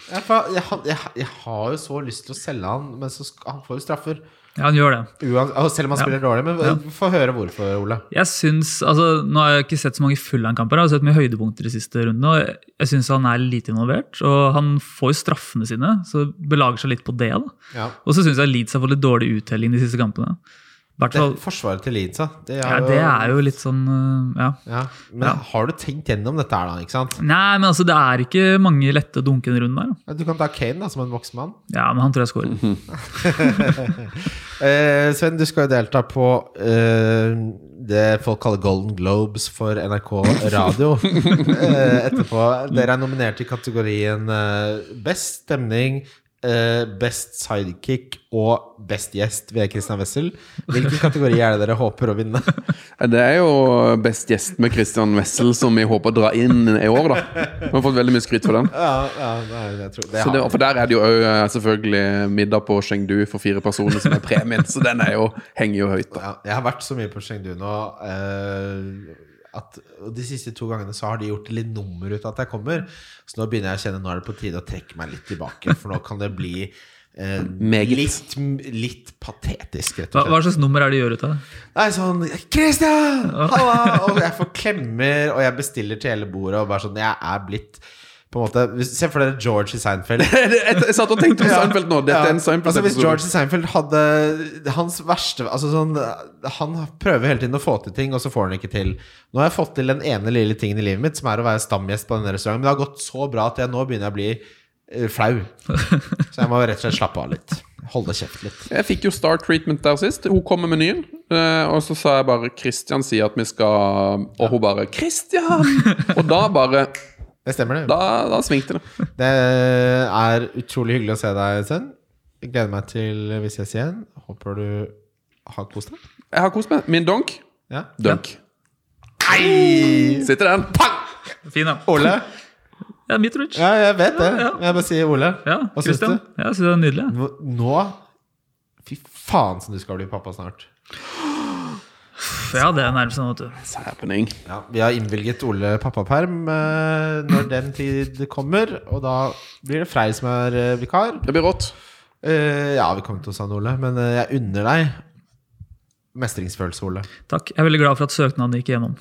[SPEAKER 3] Jeg, fa- jeg, ha- jeg, jeg har jo så lyst til å selge han, men så sk- han får jo straffer.
[SPEAKER 4] Ja, han gjør det.
[SPEAKER 3] Uan, og selv om han spiller dårlig. Men eh, få høre hvorfor, Ole.
[SPEAKER 4] Jeg synes, altså, Nå har jeg ikke sett så mange Fulham-kamper. Jeg har sett mye høydepunkter de siste rundene. og jeg- Jeg syns han er lite involvert. Og han får jo straffene sine, så belager seg litt på det. da.
[SPEAKER 3] Ja.
[SPEAKER 4] Og så syns jeg Leeds har fått litt dårlig uttelling de siste kampene. I Hvert
[SPEAKER 3] Det,
[SPEAKER 4] fall,
[SPEAKER 3] forsvaret til Leeds, da. Det
[SPEAKER 4] ja, det er jo litt sånn øh, Ja.
[SPEAKER 3] ja. Men
[SPEAKER 4] Ja.
[SPEAKER 3] har du tenkt gjennom dette her, da? Ikke sant?
[SPEAKER 4] Nei, men altså, det er ikke mange lette dunkende runder der. da.
[SPEAKER 3] Du kan ta Kane da, som en voksen mann.
[SPEAKER 4] Ja, men han tror jeg scorer.
[SPEAKER 3] Eh, Sven, du skal jo delta på eh, det folk kaller Golden Globes for NRK Radio eh, etterpå. Dere er nominert i kategorien eh, Best stemning, eh, Best sidekick og Best gjest ved Christian Wessel. Hvilken kategori er det dere håper å vinne?
[SPEAKER 5] Det er jo best gjest med Christian Wessel, som vi håper å dra inn i år, da. Vi har fått veldig mye skryt for den.
[SPEAKER 3] Ja, ja, nei, jeg tror, det
[SPEAKER 5] Så det,
[SPEAKER 3] har
[SPEAKER 5] for der er det jo òg selvfølgelig middag på Chengdu for fire personer som er premien, så den er jo, henger jo høyt. da.
[SPEAKER 3] Ja, jeg har vært så mye på Chengdu nå eh, at og de siste to gangene så har de gjort litt nummer ut av at jeg kommer. Så nå begynner jeg å kjenne nå er det på tide å trekke meg litt tilbake, for nå kan det bli eh,
[SPEAKER 5] Meget.
[SPEAKER 3] litt, litt patetisk, rett
[SPEAKER 4] Hva,
[SPEAKER 3] og
[SPEAKER 4] hva
[SPEAKER 3] slett.
[SPEAKER 4] slags nummer er det de gjør ut av det?
[SPEAKER 3] Nei, sånn 'Christian! Halla!' Og jeg får klemmer, og jeg bestiller til hele bordet, og bare sånn Jeg er blitt på en måte hvis- Se for dere George i Seinfeld.
[SPEAKER 5] Jeg, jeg satt og tenkte på
[SPEAKER 3] Ja.
[SPEAKER 5] Seinfeld nå. Dette er
[SPEAKER 3] Ja.
[SPEAKER 5] en
[SPEAKER 3] altså, Hvis
[SPEAKER 5] Seinfeld-episode.
[SPEAKER 3] George Seinfeld hadde hans verste altså, sånn, Han prøver hele tiden å få til ting, og så får han ikke til. Nå har jeg fått til den ene lille tingen i livet mitt, som er å være stamgjest på denne restauranten. Men det har gått så bra at jeg nå begynner jeg å bli eh, flau. Så jeg må rett og slett slappe av litt. Holde kjeft litt.
[SPEAKER 5] Jeg fikk jo Star Treatment der sist. Hun kom med menyen, eh, og så sa jeg bare 'Christian sier at vi skal' Og hun bare 'Christian!' Og da bare
[SPEAKER 3] Det stemmer, det.
[SPEAKER 5] Da, da svingte det.
[SPEAKER 3] Det er utrolig hyggelig å se deg, Sven. Jeg gleder meg til vi ses igjen. Håper du har kost deg.
[SPEAKER 5] Jeg har kost meg. Min donk
[SPEAKER 3] Ja.
[SPEAKER 5] Dunk. Sitter den. Pang!
[SPEAKER 4] Fin, ja.
[SPEAKER 3] Ole?
[SPEAKER 4] Ja, Mitrovic.
[SPEAKER 3] Ja, jeg vet det.
[SPEAKER 4] Ja, ja.
[SPEAKER 3] Jeg bare sier Ole.
[SPEAKER 4] Ja,
[SPEAKER 3] Hva syns
[SPEAKER 4] Christian.
[SPEAKER 3] du?
[SPEAKER 4] Ja, jeg syns det er nydelig. ja.
[SPEAKER 3] Nå, nå Fy faen som du skal bli pappa snart.
[SPEAKER 4] Ja, det er nærmest sånn, vet du.
[SPEAKER 5] It's happening.
[SPEAKER 3] Ja, vi har innvilget Ole pappaperm eh, når den tid kommer, og da blir det Frei som er eh, vikar.
[SPEAKER 5] Det blir rått.
[SPEAKER 3] Eh, ja, vi kommer til å savne Ole, men eh, jeg unner deg mestringsfølelse, Ole.
[SPEAKER 4] Takk. Jeg er veldig glad for at søknaden gikk igjennom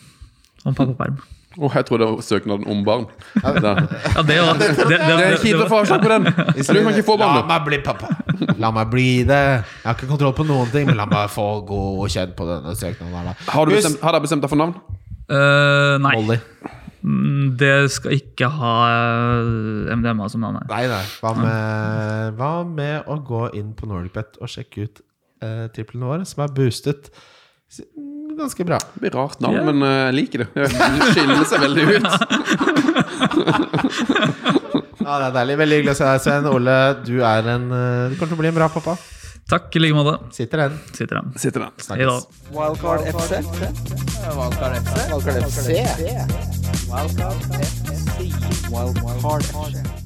[SPEAKER 4] om pappaperm.
[SPEAKER 5] Åh, jeg trodde det var søknaden om barn. Da.
[SPEAKER 4] Ja, det var det, det, det,
[SPEAKER 5] Det er kjipt å få avslag på den. Du kan ikke få
[SPEAKER 3] La
[SPEAKER 5] barn.
[SPEAKER 3] meg bli pappa. La meg bli det. Jeg har ikke kontroll på noen ting, men la meg få gå og kjenne på denne søknaden. her da.
[SPEAKER 5] Har du
[SPEAKER 3] Husk-
[SPEAKER 5] bestemt, har dere bestemt deg for navn?
[SPEAKER 4] Eh, Nei.
[SPEAKER 3] Molly.
[SPEAKER 4] Mm, Det skal ikke ha eh, MDMA som navn. nei.
[SPEAKER 3] Nei, nei. Hva med, hva med å gå inn på NordicBet og sjekke ut eh, triplene våre, som er boostet s- mm, ganske bra?
[SPEAKER 5] Det blir rart navn,
[SPEAKER 4] Ja.
[SPEAKER 5] men eh, jeg liker det. Det skiller seg veldig ut.
[SPEAKER 3] Ja, det er deilig. Veldig hyggelig å se deg, Sven. Ole, du er en eh, Du kommer til å bli en bra pappa.
[SPEAKER 4] Takk i like måte.
[SPEAKER 3] Sitter den.
[SPEAKER 4] Sitter han.
[SPEAKER 5] Sitter der.
[SPEAKER 4] Hei da.
[SPEAKER 3] Snakkes.
[SPEAKER 1] Wildcard FC.
[SPEAKER 2] Wildcard FC.
[SPEAKER 1] Wildcard FC. Wildcard FC. Wildcard FC.